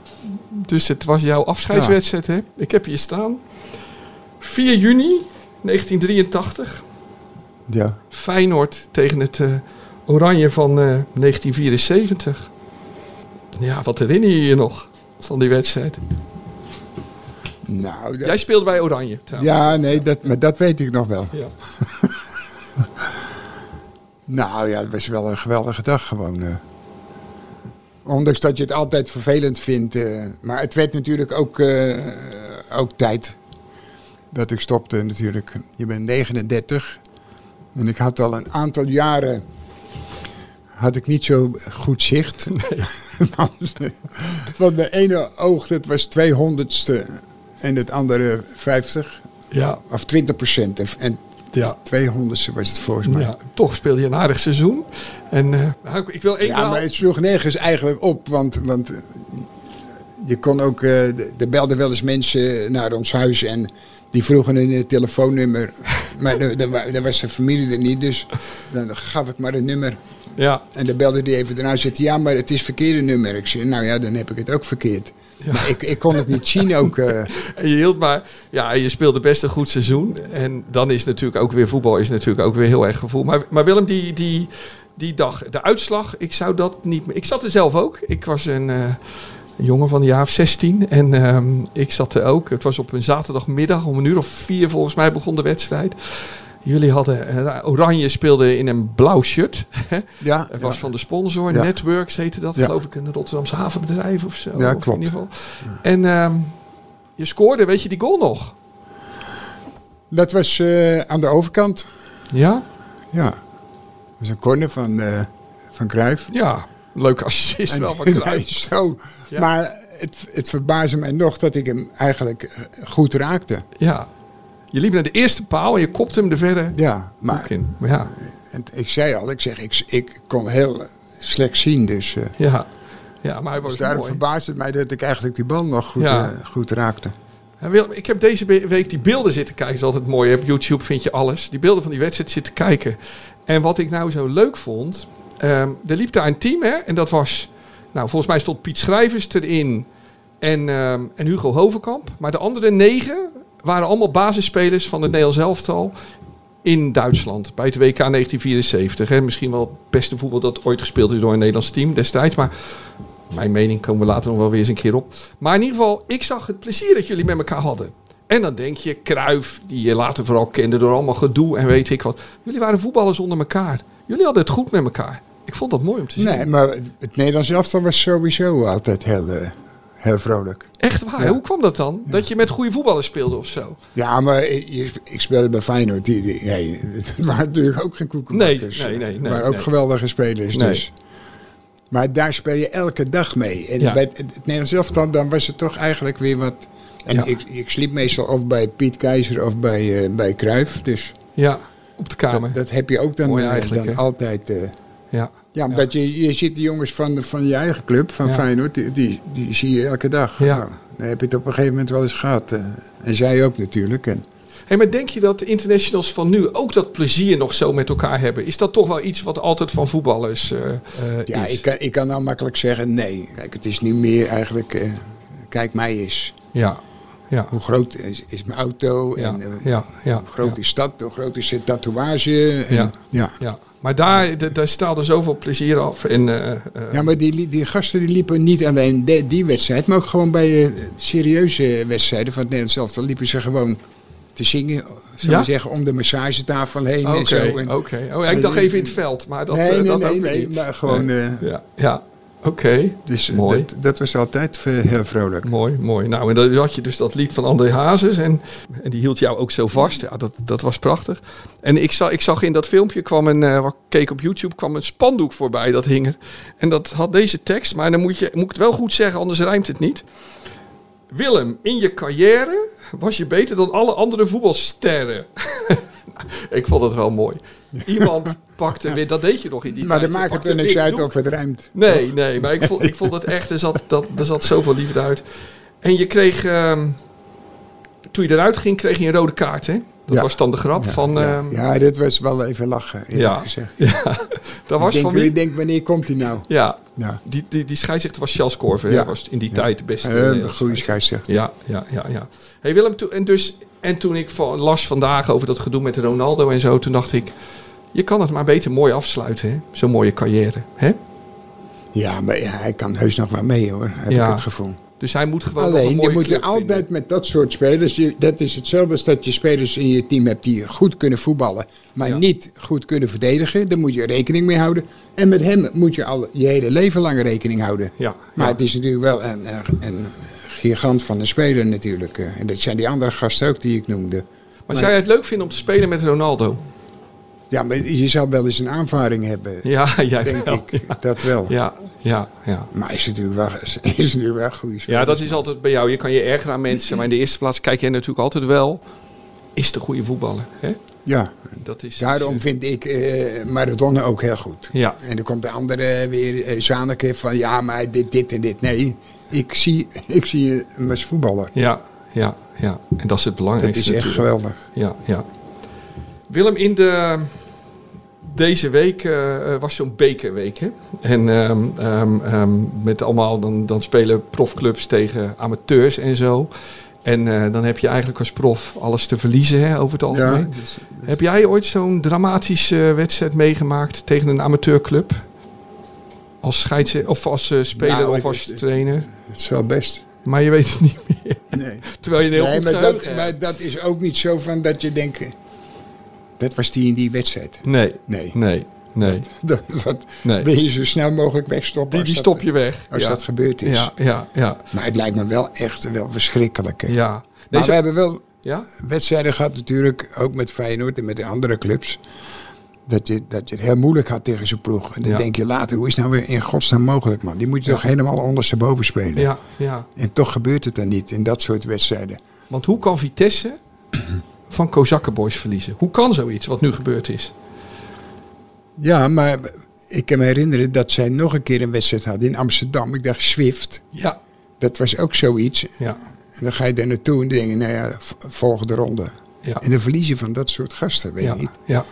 [SPEAKER 5] Dus het was jouw afscheidswedstrijd, hè? Ik heb hier staan. 4 juni 1983.
[SPEAKER 3] ja.
[SPEAKER 5] Feyenoord tegen het eh, Oranje van eh, 1974. Ja, wat herinner je je nog van die wedstrijd?
[SPEAKER 3] Nou, dat-
[SPEAKER 5] Jij speelde bij Oranje, trouwens.
[SPEAKER 3] ja, nee, dat, maar dat weet ik nog wel.
[SPEAKER 5] Ja.
[SPEAKER 3] Nou ja, het was wel een geweldige dag gewoon. eh. Ondanks dat je het altijd vervelend vindt. eh, maar het werd natuurlijk ook, eh, ook tijd dat ik stopte natuurlijk. Je bent 39 en ik had al een aantal jaren had ik niet zo goed zicht. want, want mijn ene oog, dat was 200ste en het andere 50
[SPEAKER 5] Ja,
[SPEAKER 3] of 20 procent. En, en
[SPEAKER 5] Ja.
[SPEAKER 3] 200ste was het volgens mij.
[SPEAKER 5] ja, toch speelde je een aardig seizoen. En eh, nou, ik- ik wil één
[SPEAKER 3] Ja,
[SPEAKER 5] verhaal-
[SPEAKER 3] maar het sloeg nergens eigenlijk op, want, want eh, je kon ook, eh, er belden wel eens mensen naar ons huis en die vroegen hun eh, telefoonnummer, maar er- er wa- er was zijn familie er niet, dus dan gaf ik maar een nummer.
[SPEAKER 5] Ja,
[SPEAKER 3] En dan belde die even daarna en zei hij, ja, maar het is verkeerde nummer. Ik zei, nou ja, dan heb ik het ook verkeerd. Maar ik, ik kon het niet zien ook. eh.
[SPEAKER 5] En je hield maar, ja, je speelde best een goed seizoen. En dan is natuurlijk ook weer voetbal, is natuurlijk ook weer heel erg gevoel. Maar, maar Willem, die, die, die dag, de uitslag, ik zou dat niet meer. Ik zat er zelf ook. Ik was een, eh, een jongen van een jaar of 16 en ehm, ik zat er ook. Het was op een zaterdagmiddag om een uur of vier volgens mij begon de wedstrijd. Jullie hadden, eh, Oranje speelde in een blauw shirt.
[SPEAKER 3] ja,
[SPEAKER 5] Het was
[SPEAKER 3] ja.
[SPEAKER 5] van de sponsor,
[SPEAKER 3] Ja.
[SPEAKER 5] Networks heette dat,
[SPEAKER 3] Ja.
[SPEAKER 5] geloof ik, een Rotterdamse havenbedrijf of zo.
[SPEAKER 3] Ja,
[SPEAKER 5] of
[SPEAKER 3] klopt.
[SPEAKER 5] In ieder geval. En ehm, je scoorde, weet je die goal nog?
[SPEAKER 3] Dat was eh, aan de overkant.
[SPEAKER 5] Ja?
[SPEAKER 3] Ja. Dat was een corner van, eh van Cruijff.
[SPEAKER 5] Ja. Leuke assist wel van
[SPEAKER 3] En-
[SPEAKER 5] Cruijff.
[SPEAKER 3] Zo.
[SPEAKER 5] Ja.
[SPEAKER 3] Maar het, het verbaasde mij nog dat ik hem eigenlijk eh, goed raakte.
[SPEAKER 5] Ja. Je liep naar de eerste paal en je kopte hem de verre
[SPEAKER 3] Ja, maar
[SPEAKER 5] hoek in. Ja.
[SPEAKER 3] het- ik zei al, ik zeg, ik, ik kon heel slecht zien. Dus, eh,
[SPEAKER 5] Ja. ja, maar hij was
[SPEAKER 3] dus daarom
[SPEAKER 5] mooi.
[SPEAKER 3] verbaasde het mij dat ik eigenlijk die bal nog goed,
[SPEAKER 5] Ja.
[SPEAKER 3] eh, goed raakte.
[SPEAKER 5] En Willem, ik heb deze be- week die beelden zitten kijken. Dat is altijd mooi. hè. Op YouTube vind je alles. Die beelden van die wedstrijd zitten kijken. En wat ik nou zo leuk vond. ehm, er liep daar een team, hè? En dat was. Nou, volgens mij stond Piet Schrijvers erin. En, ehm, en Hugo Hovenkamp. Maar de andere negen waren allemaal basisspelers van het Nederlands elftal. In Duitsland. Bij het WK 1974. Hè? Misschien wel het beste voetbal dat ooit gespeeld is door een Nederlands team destijds. Maar mijn mening komen we later nog wel weer eens een keer op. Maar in ieder geval, ik zag het plezier dat jullie met elkaar hadden. En dan denk je, Kruif, die je later vooral kende door allemaal gedoe en weet ik wat. Jullie waren voetballers onder elkaar. Jullie hadden het goed met elkaar. Ik vond dat mooi om te zien.
[SPEAKER 3] Nee, maar het Nederlands elftal was sowieso altijd heel, eh, heel vrolijk.
[SPEAKER 5] Echt waar,
[SPEAKER 3] Ja.
[SPEAKER 5] hoe kwam dat dan? Dat je met goede voetballers speelde of zo?
[SPEAKER 3] Ja, maar ik, ik speelde bij Feyenoord. Die, die, nee, het waren natuurlijk ook geen koekenbakkers.
[SPEAKER 5] Nee, nee, nee, nee,
[SPEAKER 3] Het waren ook
[SPEAKER 5] nee.
[SPEAKER 3] geweldige spelers
[SPEAKER 5] Nee.
[SPEAKER 3] dus. Maar daar speel je elke dag mee. En
[SPEAKER 5] Ja.
[SPEAKER 3] bij het, het Nederlands elftal, dan was het toch eigenlijk weer wat... En
[SPEAKER 5] Ja.
[SPEAKER 3] ik, ik sliep meestal of bij Piet Keizer of bij, eh, bij Cruijff. Dus
[SPEAKER 5] Ja, op de kamer.
[SPEAKER 3] dat, dat heb je ook dan,
[SPEAKER 5] Mooi
[SPEAKER 3] eh,
[SPEAKER 5] eigenlijk,
[SPEAKER 3] dan
[SPEAKER 5] hè?
[SPEAKER 3] altijd... eh,
[SPEAKER 5] ja.
[SPEAKER 3] ja, omdat Je, je ziet de jongens van, van je eigen club, van
[SPEAKER 5] Ja.
[SPEAKER 3] Feyenoord, die, die, die zie je elke dag.
[SPEAKER 5] Ja.
[SPEAKER 3] Nou, dan heb je het op een gegeven moment wel eens gehad. eh. en zij ook natuurlijk. En,
[SPEAKER 5] Hey, maar denk je dat de internationals van nu ook dat plezier nog zo met elkaar hebben? Is dat toch wel iets wat altijd van voetballers eh, eh,
[SPEAKER 3] Ja,
[SPEAKER 5] is?
[SPEAKER 3] ik kan, ik kan nou makkelijk zeggen nee. Kijk, het is nu meer eigenlijk, eh, kijk mij eens.
[SPEAKER 5] Ja, ja,
[SPEAKER 3] Hoe groot is, is mijn auto?
[SPEAKER 5] ja,
[SPEAKER 3] En, eh,
[SPEAKER 5] ja, ja.
[SPEAKER 3] Hoe groot is dat? Hoe groot is de tatoeage? En,
[SPEAKER 5] Ja.
[SPEAKER 3] ja. Ja.
[SPEAKER 5] Ja, maar daar, d- daar staalde zoveel plezier af. En, eh, eh,
[SPEAKER 3] maar die, li- die gasten die liepen niet alleen de- die wedstrijd, maar ook gewoon bij eh, serieuze wedstrijden van het Nederlands elftal liepen ze gewoon te zingen, zou
[SPEAKER 5] Ja?
[SPEAKER 3] je zeggen, om de massagetafel heen
[SPEAKER 5] Oké,
[SPEAKER 3] en zo. En,
[SPEAKER 5] oké. Oh, ja, ik dacht even in het veld, maar dat,
[SPEAKER 3] nee,
[SPEAKER 5] eh,
[SPEAKER 3] nee,
[SPEAKER 5] dat
[SPEAKER 3] nee,
[SPEAKER 5] ook
[SPEAKER 3] nee,
[SPEAKER 5] niet.
[SPEAKER 3] maar gewoon,
[SPEAKER 5] Nee.
[SPEAKER 3] eh,
[SPEAKER 5] ja, ja. oké.
[SPEAKER 3] dus eh,
[SPEAKER 5] Mooi.
[SPEAKER 3] dat, dat was altijd eh, heel vrolijk.
[SPEAKER 5] Mooi, mooi. Nou, en dan had je dus dat lied van André Hazes. En, en die hield jou ook zo vast.
[SPEAKER 3] Mm.
[SPEAKER 5] Ja, dat, dat was prachtig. En ik zag, ik zag in dat filmpje, kwam een, eh, wat ik keek op YouTube, kwam een spandoek voorbij. Dat hing er. En dat had deze tekst. Maar dan moet, je, moet ik het wel goed zeggen, anders rijmt het niet. Willem, in je carrière was je beter dan alle andere voetbalsterren. ik vond dat wel mooi. Iemand pakte weer, dat deed je nog in die
[SPEAKER 3] Maar
[SPEAKER 5] tijd.
[SPEAKER 3] dan
[SPEAKER 5] Je
[SPEAKER 3] maakt het
[SPEAKER 5] pakte
[SPEAKER 3] er niks
[SPEAKER 5] weer een
[SPEAKER 3] uit
[SPEAKER 5] doek.
[SPEAKER 3] of het ruimt.
[SPEAKER 5] Nee, nee, maar ik vond, ik vond het echt, er zat, dat, er zat zoveel liefde uit. En je kreeg, ehm, toen je eruit ging, kreeg je een rode kaart, hè? Dat
[SPEAKER 3] Ja.
[SPEAKER 5] was dan de grap van,
[SPEAKER 3] ja,
[SPEAKER 5] ehm, ja,
[SPEAKER 3] ja, dit was wel even lachen, eerlijk gezegd.
[SPEAKER 5] dat
[SPEAKER 3] Ik
[SPEAKER 5] was
[SPEAKER 3] denk,
[SPEAKER 5] van wie?
[SPEAKER 3] ik denk, wanneer komt hij nou?
[SPEAKER 5] Ja,
[SPEAKER 3] Ja,
[SPEAKER 5] die, die, die scheidsrechter was Charles Corver, hè?
[SPEAKER 3] Ja.
[SPEAKER 5] Dat was in die tijd de beste.
[SPEAKER 3] Eh, een
[SPEAKER 5] Nederlandse
[SPEAKER 3] goede
[SPEAKER 5] scheidsrechter.
[SPEAKER 3] scheidsrechter.
[SPEAKER 5] Ja, ja, ja, ja. hey Willem, toen- en, dus, en toen ik van, las vandaag over dat gedoe met Ronaldo en zo, toen dacht ik, je kan het maar beter mooi afsluiten, hè? Zo'n mooie carrière, hè?
[SPEAKER 3] Ja, maar ja, hij kan heus nog wel mee hoor, heb
[SPEAKER 5] Ja.
[SPEAKER 3] ik het gevoel.
[SPEAKER 5] Dus hij moet gewoon nog een
[SPEAKER 3] Alleen, je
[SPEAKER 5] mooie
[SPEAKER 3] moet er
[SPEAKER 5] club vinden.
[SPEAKER 3] altijd met dat soort spelers, je- dat is hetzelfde als dat je spelers in je team hebt die goed kunnen voetballen, maar
[SPEAKER 5] Ja.
[SPEAKER 3] niet goed kunnen verdedigen. Daar moet je rekening mee houden. En met hem moet je al je hele leven lang rekening houden.
[SPEAKER 5] Ja,
[SPEAKER 3] Maar
[SPEAKER 5] ja.
[SPEAKER 3] het is natuurlijk wel een, een gigant van een speler natuurlijk. eh. En dat zijn die andere gasten ook die ik noemde.
[SPEAKER 5] Maar zou jij het leuk vinden om te spelen met Ronaldo?
[SPEAKER 3] Ja, maar je zal wel eens een aanvaring hebben,
[SPEAKER 5] Ja, jij
[SPEAKER 3] denk
[SPEAKER 5] wel.
[SPEAKER 3] ik. Dat wel.
[SPEAKER 5] Ja, ja, ja.
[SPEAKER 3] Maar hij is natuurlijk wel, is natuurlijk wel een goede speler.
[SPEAKER 5] Ja, dat is altijd bij jou. Je kan je erger aan mensen. Maar in de eerste plaats kijk jij natuurlijk altijd wel. Is de goede voetballer. Hè?
[SPEAKER 3] Ja,
[SPEAKER 5] Dat is,
[SPEAKER 3] daarom vind ik eh, Maradona ook heel goed.
[SPEAKER 5] Ja.
[SPEAKER 3] En dan komt de andere weer, eh, Zaneke, van ja, maar dit, dit en dit. Nee, ik zie, ik zie hem als voetballer.
[SPEAKER 5] Ja, ja, ja. En dat is het
[SPEAKER 3] Dat
[SPEAKER 5] belangrijkste.
[SPEAKER 3] is echt
[SPEAKER 5] natuurlijk.
[SPEAKER 3] geweldig.
[SPEAKER 5] Ja, ja. Willem, in de Deze week eh, eh, was zo'n bekerweek. Hè? En ehm, ehm, ehm, met allemaal, dan, dan spelen profclubs tegen amateurs en zo. En eh, dan heb je eigenlijk als prof alles te verliezen hè, over het algemeen.
[SPEAKER 3] Ja, dus-
[SPEAKER 5] Heb jij ooit zo'n dramatische eh, wedstrijd meegemaakt tegen een amateurclub? Als scheidsrechter, of als eh, speler
[SPEAKER 3] Nou,
[SPEAKER 5] of
[SPEAKER 3] ik-
[SPEAKER 5] als
[SPEAKER 3] ik-
[SPEAKER 5] trainer?
[SPEAKER 3] het is wel best.
[SPEAKER 5] Maar je weet het niet meer.
[SPEAKER 3] Nee.
[SPEAKER 5] Terwijl je een heel
[SPEAKER 3] Nee,
[SPEAKER 5] goed
[SPEAKER 3] maar
[SPEAKER 5] geheugen
[SPEAKER 3] dat,
[SPEAKER 5] hebt.
[SPEAKER 3] maar dat is ook niet zo van dat je denkt... eh, Dat was die in die wedstrijd.
[SPEAKER 5] Nee,
[SPEAKER 3] Nee,
[SPEAKER 5] nee, nee.
[SPEAKER 3] dat, dat
[SPEAKER 5] Nee.
[SPEAKER 3] wil je zo snel mogelijk wegstoppen.
[SPEAKER 5] Die,
[SPEAKER 3] als
[SPEAKER 5] die
[SPEAKER 3] dat- eh,
[SPEAKER 5] stop je weg.
[SPEAKER 3] Als
[SPEAKER 5] ja.
[SPEAKER 3] dat gebeurd is.
[SPEAKER 5] Ja, ja, ja.
[SPEAKER 3] Maar het lijkt me wel echt wel verschrikkelijk. hè.
[SPEAKER 5] ja.
[SPEAKER 3] maar
[SPEAKER 5] Deze,
[SPEAKER 3] we hebben wel
[SPEAKER 5] ja?
[SPEAKER 3] wedstrijden gehad natuurlijk, ook met Feyenoord en met de andere clubs. Dat je, dat je het heel moeilijk had tegen zijn ploeg. En dan
[SPEAKER 5] Ja.
[SPEAKER 3] denk je later, hoe is nou weer in godsnaam mogelijk man? Die moet je toch helemaal ondersteboven spelen.
[SPEAKER 5] ja, ja.
[SPEAKER 3] En toch gebeurt het dan niet in dat soort wedstrijden.
[SPEAKER 5] Want hoe kan Vitesse van Kozakkenboys verliezen? Hoe kan zoiets wat nu gebeurd is?
[SPEAKER 3] Ja, maar ik kan me herinneren dat zij nog een keer een wedstrijd hadden in Amsterdam. Ik dacht Swift,
[SPEAKER 5] Ja,
[SPEAKER 3] dat was ook zoiets.
[SPEAKER 5] ja,
[SPEAKER 3] En dan ga je daar naartoe en denk je, nou ja, v- volgende ronde.
[SPEAKER 5] ja.
[SPEAKER 3] En de verliezen van dat soort gasten, weet je
[SPEAKER 5] ja,
[SPEAKER 3] niet.
[SPEAKER 5] ja.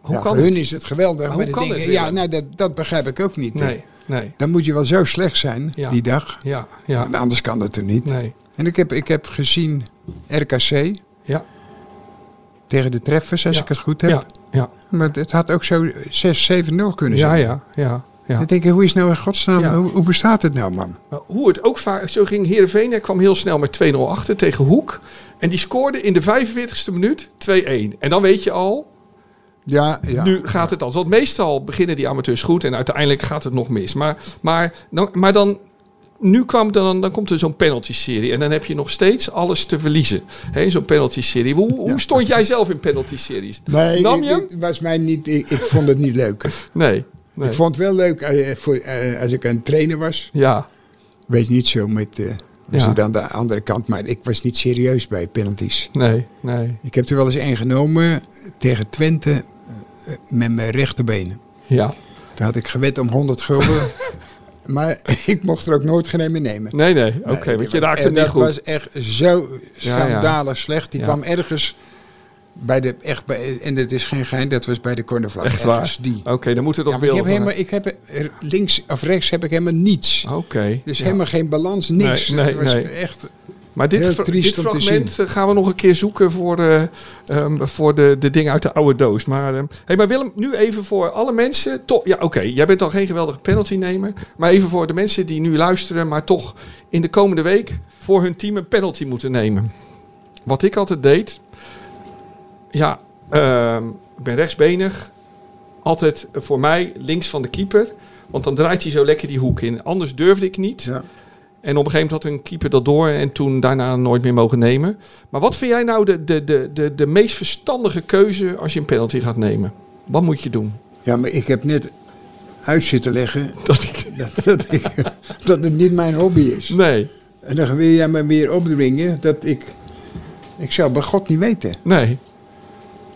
[SPEAKER 5] Hoe
[SPEAKER 3] Ja,
[SPEAKER 5] kan
[SPEAKER 3] voor
[SPEAKER 5] het?
[SPEAKER 3] hun is het geweldig, maar,
[SPEAKER 5] hoe
[SPEAKER 3] dan
[SPEAKER 5] kan
[SPEAKER 3] denk
[SPEAKER 5] het,
[SPEAKER 3] je, ja,
[SPEAKER 5] Willem?
[SPEAKER 3] nou, dat, dat begrijp ik ook niet. hè.
[SPEAKER 5] Nee, nee.
[SPEAKER 3] Dan moet je wel zo slecht zijn
[SPEAKER 5] Ja.
[SPEAKER 3] die dag.
[SPEAKER 5] Ja, ja.
[SPEAKER 3] Want anders kan dat er niet.
[SPEAKER 5] Nee.
[SPEAKER 3] En ik heb, ik heb gezien RKC
[SPEAKER 5] Ja,
[SPEAKER 3] tegen de treffers, als
[SPEAKER 5] Ja.
[SPEAKER 3] ik het goed heb.
[SPEAKER 5] ja, ja.
[SPEAKER 3] Maar het had ook zo 6-7-0 kunnen
[SPEAKER 5] Ja,
[SPEAKER 3] zijn.
[SPEAKER 5] ja, ja. ja.
[SPEAKER 3] Dan denk je, hoe is nou in godsnaam,
[SPEAKER 5] Ja.
[SPEAKER 3] hoe, hoe bestaat het nou, man?
[SPEAKER 5] Maar hoe het ook vaak, zo ging Heerenveen, hij kwam heel snel met 2-0 achter tegen Hoek. En die scoorde in de 45ste minuut 2-1. En dan weet je al,
[SPEAKER 3] Ja, ja.
[SPEAKER 5] nu gaat het al. Want meestal beginnen die amateurs goed en uiteindelijk gaat het nog mis. Maar, maar, dan, maar dan, nu kwam dan, dan komt er zo'n penalty-serie. En dan heb je nog steeds alles te verliezen. Hè, zo'n penalty-serie. Hoe, hoe stond jij zelf in penalty-series?
[SPEAKER 3] Nee,
[SPEAKER 5] Nam
[SPEAKER 3] ik-
[SPEAKER 5] je hem?
[SPEAKER 3] ik- was mij niet, ik, ik vond het niet leuk.
[SPEAKER 5] Nee. nee.
[SPEAKER 3] Ik vond het wel leuk eh, voor, eh, als ik aan het trainen was.
[SPEAKER 5] Ja,
[SPEAKER 3] Weet niet zo met, eh was
[SPEAKER 5] Ja.
[SPEAKER 3] het aan de andere kant, maar ik was niet serieus bij penalties.
[SPEAKER 5] nee, nee.
[SPEAKER 3] Ik heb er wel eens één genomen tegen Twente eh, met mijn rechterbeen.
[SPEAKER 5] Ja.
[SPEAKER 3] Toen had ik gewet om 100 gulden. maar ik mocht er ook nooit geen een meer nemen.
[SPEAKER 5] Nee, nee. Oké, want je raakte
[SPEAKER 3] en
[SPEAKER 5] niet
[SPEAKER 3] dat
[SPEAKER 5] goed.
[SPEAKER 3] was echt zo schandalig slecht. Die
[SPEAKER 5] Ja.
[SPEAKER 3] kwam ergens bij de... Echt bij, en het is geen gein, dat was bij de cornervlag.
[SPEAKER 5] Echt waar.
[SPEAKER 3] Ergens die.
[SPEAKER 5] Oké, dan moeten er
[SPEAKER 3] Ja,
[SPEAKER 5] toch
[SPEAKER 3] maar ik heb
[SPEAKER 5] beelden
[SPEAKER 3] helemaal,
[SPEAKER 5] van-
[SPEAKER 3] ik heb er- links of rechts heb ik helemaal niets.
[SPEAKER 5] Oké.
[SPEAKER 3] Dus
[SPEAKER 5] Oh, ja.
[SPEAKER 3] helemaal geen balans, niks.
[SPEAKER 5] Nee, nee,
[SPEAKER 3] het was
[SPEAKER 5] nee.
[SPEAKER 3] echt...
[SPEAKER 5] Maar dit,
[SPEAKER 3] heel
[SPEAKER 5] fra-
[SPEAKER 3] triest
[SPEAKER 5] dit
[SPEAKER 3] om te
[SPEAKER 5] fragment eh, gaan we nog een keer zoeken voor, eh, ehm, voor de, de dingen uit de oude doos. Maar, ehm, hey, maar Willem, nu even voor alle mensen. Toch, ja, oké, jij bent al geen geweldige penaltynemer. Maar even voor de mensen die nu luisteren, maar toch in de komende week voor hun team een penalty moeten nemen. Wat ik altijd deed. Ja, ehm, ik ben rechtsbenig. Altijd eh, voor mij links van de keeper. Want dan draait hij zo lekker die hoek in. Anders durfde ik niet.
[SPEAKER 3] Ja.
[SPEAKER 5] En op een gegeven moment had een keeper dat door en toen daarna nooit meer mogen nemen. Maar wat vind jij nou de, de, de, de, de meest verstandige keuze als je een penalty gaat nemen? Wat moet je doen?
[SPEAKER 3] ja, maar ik heb net uit zitten leggen
[SPEAKER 5] Dat ik...
[SPEAKER 3] dat, dat, ik, dat het niet mijn hobby is.
[SPEAKER 5] Nee,
[SPEAKER 3] En dan wil jij me weer opdringen dat ik... Ik zou bij God niet weten.
[SPEAKER 5] nee,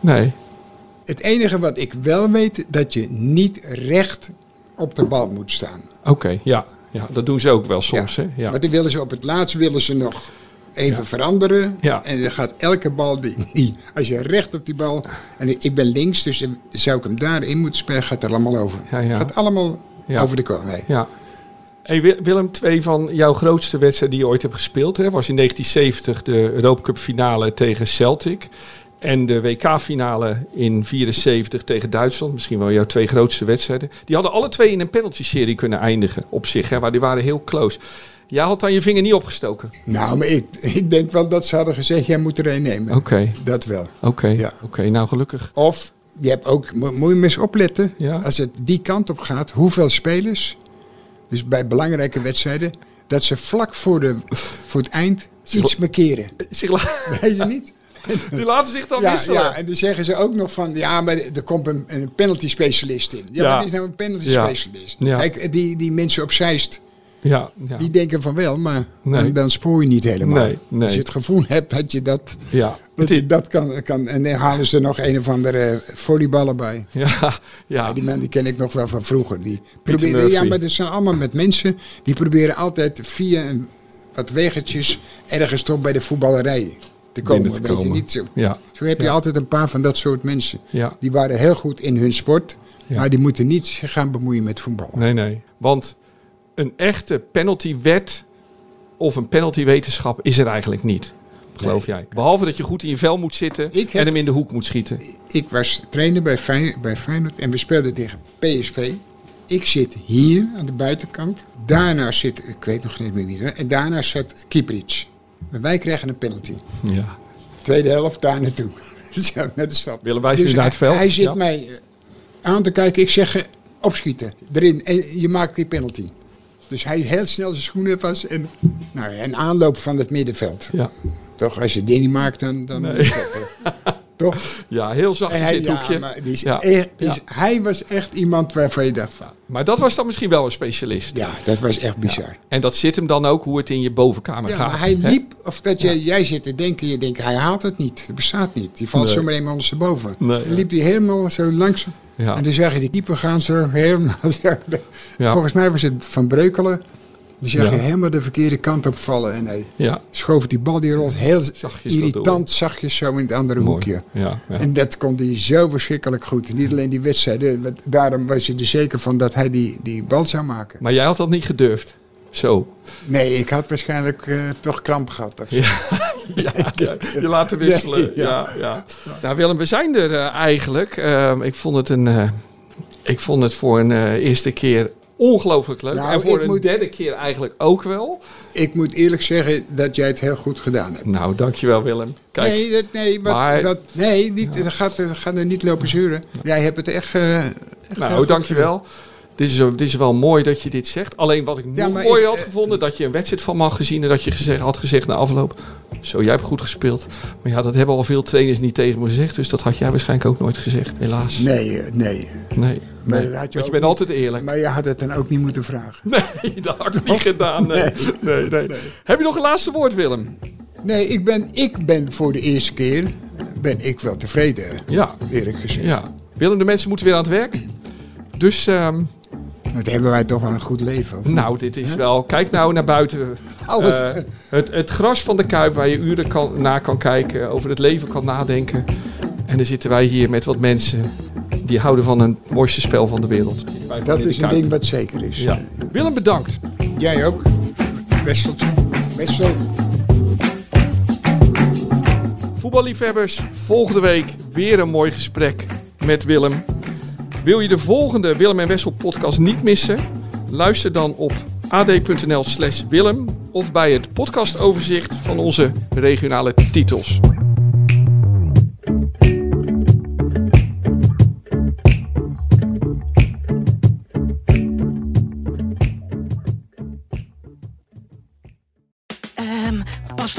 [SPEAKER 5] nee.
[SPEAKER 3] Het enige wat ik wel weet, dat je niet recht op de bal moet staan.
[SPEAKER 5] Oké, ja. ja. Dat doen ze ook wel soms, hè? Ja.
[SPEAKER 3] Want dan willen ze op het laatst willen ze nog even veranderen.
[SPEAKER 5] Ja.
[SPEAKER 3] En dan gaat elke bal, die, die- als je recht op die bal... En ik- ik ben links, dus dan zou ik hem daarin moeten spelen, gaat er allemaal over.
[SPEAKER 5] Ja, ja.
[SPEAKER 3] Gaat allemaal
[SPEAKER 5] Ja.
[SPEAKER 3] over de koning. Nee.
[SPEAKER 5] ja. Hey, Wi- Willem, twee van jouw grootste wedstrijden die je ooit hebt gespeeld... Hè, was in 1970 de Europa Cup finale tegen Celtic... en de WK-finale in 1974 tegen Duitsland. Misschien wel jouw twee grootste wedstrijden. Die hadden alle twee in een penalty-serie kunnen eindigen op zich. Hè, maar die waren heel close. Jij had dan je vinger niet opgestoken.
[SPEAKER 3] Nou, maar ik, ik denk wel dat ze hadden gezegd, jij moet er een nemen.
[SPEAKER 5] Oké,
[SPEAKER 3] Dat wel.
[SPEAKER 5] oké,
[SPEAKER 3] Ja.
[SPEAKER 5] oké. nou, gelukkig.
[SPEAKER 3] Of, je hebt ook, mo- moet je maar eens opletten,
[SPEAKER 5] Ja.
[SPEAKER 3] als het die kant op gaat, hoeveel spelers, dus bij belangrijke wedstrijden, dat ze vlak voor, de, voor het eind iets markeren.
[SPEAKER 5] Zich la-
[SPEAKER 3] Weet je niet?
[SPEAKER 5] Die laten zich dan
[SPEAKER 3] Ja,
[SPEAKER 5] wisselen.
[SPEAKER 3] ja, en dan zeggen ze ook nog van, ja, maar er komt een, een penalty specialist in. Ja,
[SPEAKER 5] Ja.
[SPEAKER 3] wat is nou een penalty
[SPEAKER 5] Ja.
[SPEAKER 3] specialist?
[SPEAKER 5] Ja.
[SPEAKER 3] Kijk, die, die mensen op Zeist,
[SPEAKER 5] ja, ja.
[SPEAKER 3] die denken van wel, maar
[SPEAKER 5] Nee.
[SPEAKER 3] dan, dan spoor je niet helemaal.
[SPEAKER 5] Nee, nee.
[SPEAKER 3] Als je het gevoel hebt dat je dat,
[SPEAKER 5] ja.
[SPEAKER 3] dat, je dat kan, kan, en dan halen ze er nog een of andere volleyballen bij.
[SPEAKER 5] Ja, ja.
[SPEAKER 3] Die man die ken ik nog wel van vroeger. Die proberen,
[SPEAKER 5] Murphy.
[SPEAKER 3] ja, maar dat zijn allemaal met mensen. Die proberen altijd via een, wat weggetjes ergens toch bij de voetballerij te komen.
[SPEAKER 5] binnen te
[SPEAKER 3] weet je,
[SPEAKER 5] komen.
[SPEAKER 3] niet zo.
[SPEAKER 5] Ja.
[SPEAKER 3] Zo heb je
[SPEAKER 5] Ja.
[SPEAKER 3] altijd een paar van dat soort mensen.
[SPEAKER 5] Ja.
[SPEAKER 3] Die waren heel goed in hun sport,
[SPEAKER 5] Ja.
[SPEAKER 3] maar die moeten niet zich gaan bemoeien met voetbal.
[SPEAKER 5] Nee, nee. Want een echte penaltywet of een penaltywetenschap is er eigenlijk niet. Geloof jij. Behalve dat je goed in je vel moet zitten
[SPEAKER 3] Ik heb-
[SPEAKER 5] en hem in de hoek moet schieten.
[SPEAKER 3] Ik was trainer bij, Fey- bij Feyenoord en we speelden tegen PSV. Ik zit hier aan de buitenkant. Daarna zit, ik weet nog niet meer wie, het was. en daarna zat Kieprits. En wij kregen een penalty.
[SPEAKER 5] Ja.
[SPEAKER 3] Tweede helft daar naartoe. Zo, naar de stad.
[SPEAKER 5] Willem wijst nu naar
[SPEAKER 3] hij-
[SPEAKER 5] het veld.
[SPEAKER 3] Dus Hij zit
[SPEAKER 5] Ja.
[SPEAKER 3] mij eh, aan te kijken. Ik zeg, eh, opschieten. Erin. En je maakt die penalty. Dus hij heel snel zijn schoenen vast. En, nou, ja, en aanloop van het middenveld.
[SPEAKER 5] Ja.
[SPEAKER 3] Toch, als je die niet maakt, dan... dan Toch?
[SPEAKER 5] ja, heel zacht
[SPEAKER 3] En
[SPEAKER 5] in
[SPEAKER 3] hij,
[SPEAKER 5] dit
[SPEAKER 3] ja,
[SPEAKER 5] hoekje.
[SPEAKER 3] maar die is
[SPEAKER 5] Ja.
[SPEAKER 3] echt-
[SPEAKER 5] Ja.
[SPEAKER 3] is- hij was echt iemand waarvan je dacht van...
[SPEAKER 5] Maar dat was dan misschien wel een specialist.
[SPEAKER 3] Ja, dat was echt bizar.
[SPEAKER 5] En dat zit hem dan ook hoe het in je bovenkamer
[SPEAKER 3] Ja,
[SPEAKER 5] gaat.
[SPEAKER 3] maar hij
[SPEAKER 5] hè?
[SPEAKER 3] liep, of dat je, jij zit te denken, je denkt, hij haalt het niet. Het bestaat niet. Die valt
[SPEAKER 5] Nee.
[SPEAKER 3] zomaar eenmaal ondersteboven.
[SPEAKER 5] Nee,
[SPEAKER 3] dan
[SPEAKER 5] ja.
[SPEAKER 3] liep hij helemaal zo langs.
[SPEAKER 5] Ja.
[SPEAKER 3] En dan zag je die keeper gaan zo helemaal zo.
[SPEAKER 5] Ja.
[SPEAKER 3] Volgens mij was het Van Breukelen. Dan zag
[SPEAKER 5] Ja.
[SPEAKER 3] je helemaal de verkeerde kant op vallen. En hij
[SPEAKER 5] Ja,
[SPEAKER 3] schoof die bal, die rolt heel
[SPEAKER 5] dat door.
[SPEAKER 3] irritant zachtjes zo in het andere
[SPEAKER 5] mooi.
[SPEAKER 3] hoekje.
[SPEAKER 5] Ja, ja.
[SPEAKER 3] En dat kon hij zo verschrikkelijk goed. Niet alleen die wedstrijden. want Daarom was je er zeker van dat hij die, die bal zou maken.
[SPEAKER 5] Maar jij had dat niet gedurfd. Zo.
[SPEAKER 3] Nee, ik had waarschijnlijk eh, toch kramp gehad. Of zo.
[SPEAKER 5] Ja, ja, je laten wisselen.
[SPEAKER 3] Nee,
[SPEAKER 5] ja. Ja, Nou Willem, we zijn er eh, eigenlijk. Ehm, ik, vond het een, eh, ik vond het voor een eh, eerste keer ongelooflijk leuk.
[SPEAKER 3] Nou,
[SPEAKER 5] en voor
[SPEAKER 3] ik
[SPEAKER 5] een
[SPEAKER 3] moet-
[SPEAKER 5] derde keer eigenlijk ook wel.
[SPEAKER 3] Ik moet eerlijk zeggen dat jij het heel goed gedaan hebt.
[SPEAKER 5] Nou, dankjewel Willem. Kijk,
[SPEAKER 3] nee, dat, nee, wat,
[SPEAKER 5] Maar-
[SPEAKER 3] dat, nee niet, dat gaat, dat gaat er niet lopen zuren. Jij hebt het echt... eh, echt heel
[SPEAKER 5] nou,
[SPEAKER 3] goed
[SPEAKER 5] dankjewel. Dit is, dit is wel mooi dat je dit zegt. Alleen wat ik
[SPEAKER 3] Ja,
[SPEAKER 5] nog
[SPEAKER 3] maar
[SPEAKER 5] mooi
[SPEAKER 3] ik,
[SPEAKER 5] had
[SPEAKER 3] eh,
[SPEAKER 5] gevonden, dat je een wedstrijd van mag gezien en dat je gezegd, had gezegd na afloop, zo, jij hebt goed gespeeld. Maar ja, dat hebben al veel trainers niet tegen me gezegd, dus dat had jij waarschijnlijk ook nooit gezegd, helaas.
[SPEAKER 3] gedaan. Nee, eh, nee.
[SPEAKER 5] Nee,
[SPEAKER 3] Maar dat
[SPEAKER 5] nee.
[SPEAKER 3] had je
[SPEAKER 5] want je
[SPEAKER 3] ook
[SPEAKER 5] bent altijd eerlijk.
[SPEAKER 3] Maar je had het dan ook niet moeten vragen.
[SPEAKER 5] Nee, dat had ik niet gedaan. Nee. Nee, nee. Heb je nog een laatste woord, Willem?
[SPEAKER 3] Nee, ik ben, ik ben voor de eerste keer ben ik wel tevreden,
[SPEAKER 5] Ja.
[SPEAKER 3] eerlijk gezegd.
[SPEAKER 5] ja. Willem, de mensen moeten weer aan het werk. Dus, ehm,
[SPEAKER 3] Want hebben wij toch wel een goed leven. of niet?
[SPEAKER 5] nou, dit is wel... Kijk nou naar buiten.
[SPEAKER 3] Alles.
[SPEAKER 5] Eh, het, het gras van de Kuip, waar je uren kan, na kan kijken, over het leven kan nadenken. En dan zitten wij hier met wat mensen die houden van het mooiste spel van de wereld. Zitten wij gewoon
[SPEAKER 3] dat
[SPEAKER 5] in de
[SPEAKER 3] is een
[SPEAKER 5] Kuip.
[SPEAKER 3] ding wat zeker is.
[SPEAKER 5] Ja. Willem, bedankt.
[SPEAKER 3] Jij ook. Westeltje. Westel.
[SPEAKER 5] Voetballiefhebbers, volgende week weer een mooi gesprek met Willem. Wil je de volgende Willem en Wessel podcast niet missen? Luister dan op ad.nl slash Willem of bij het podcastoverzicht van onze regionale titels.
[SPEAKER 1] Ehm, past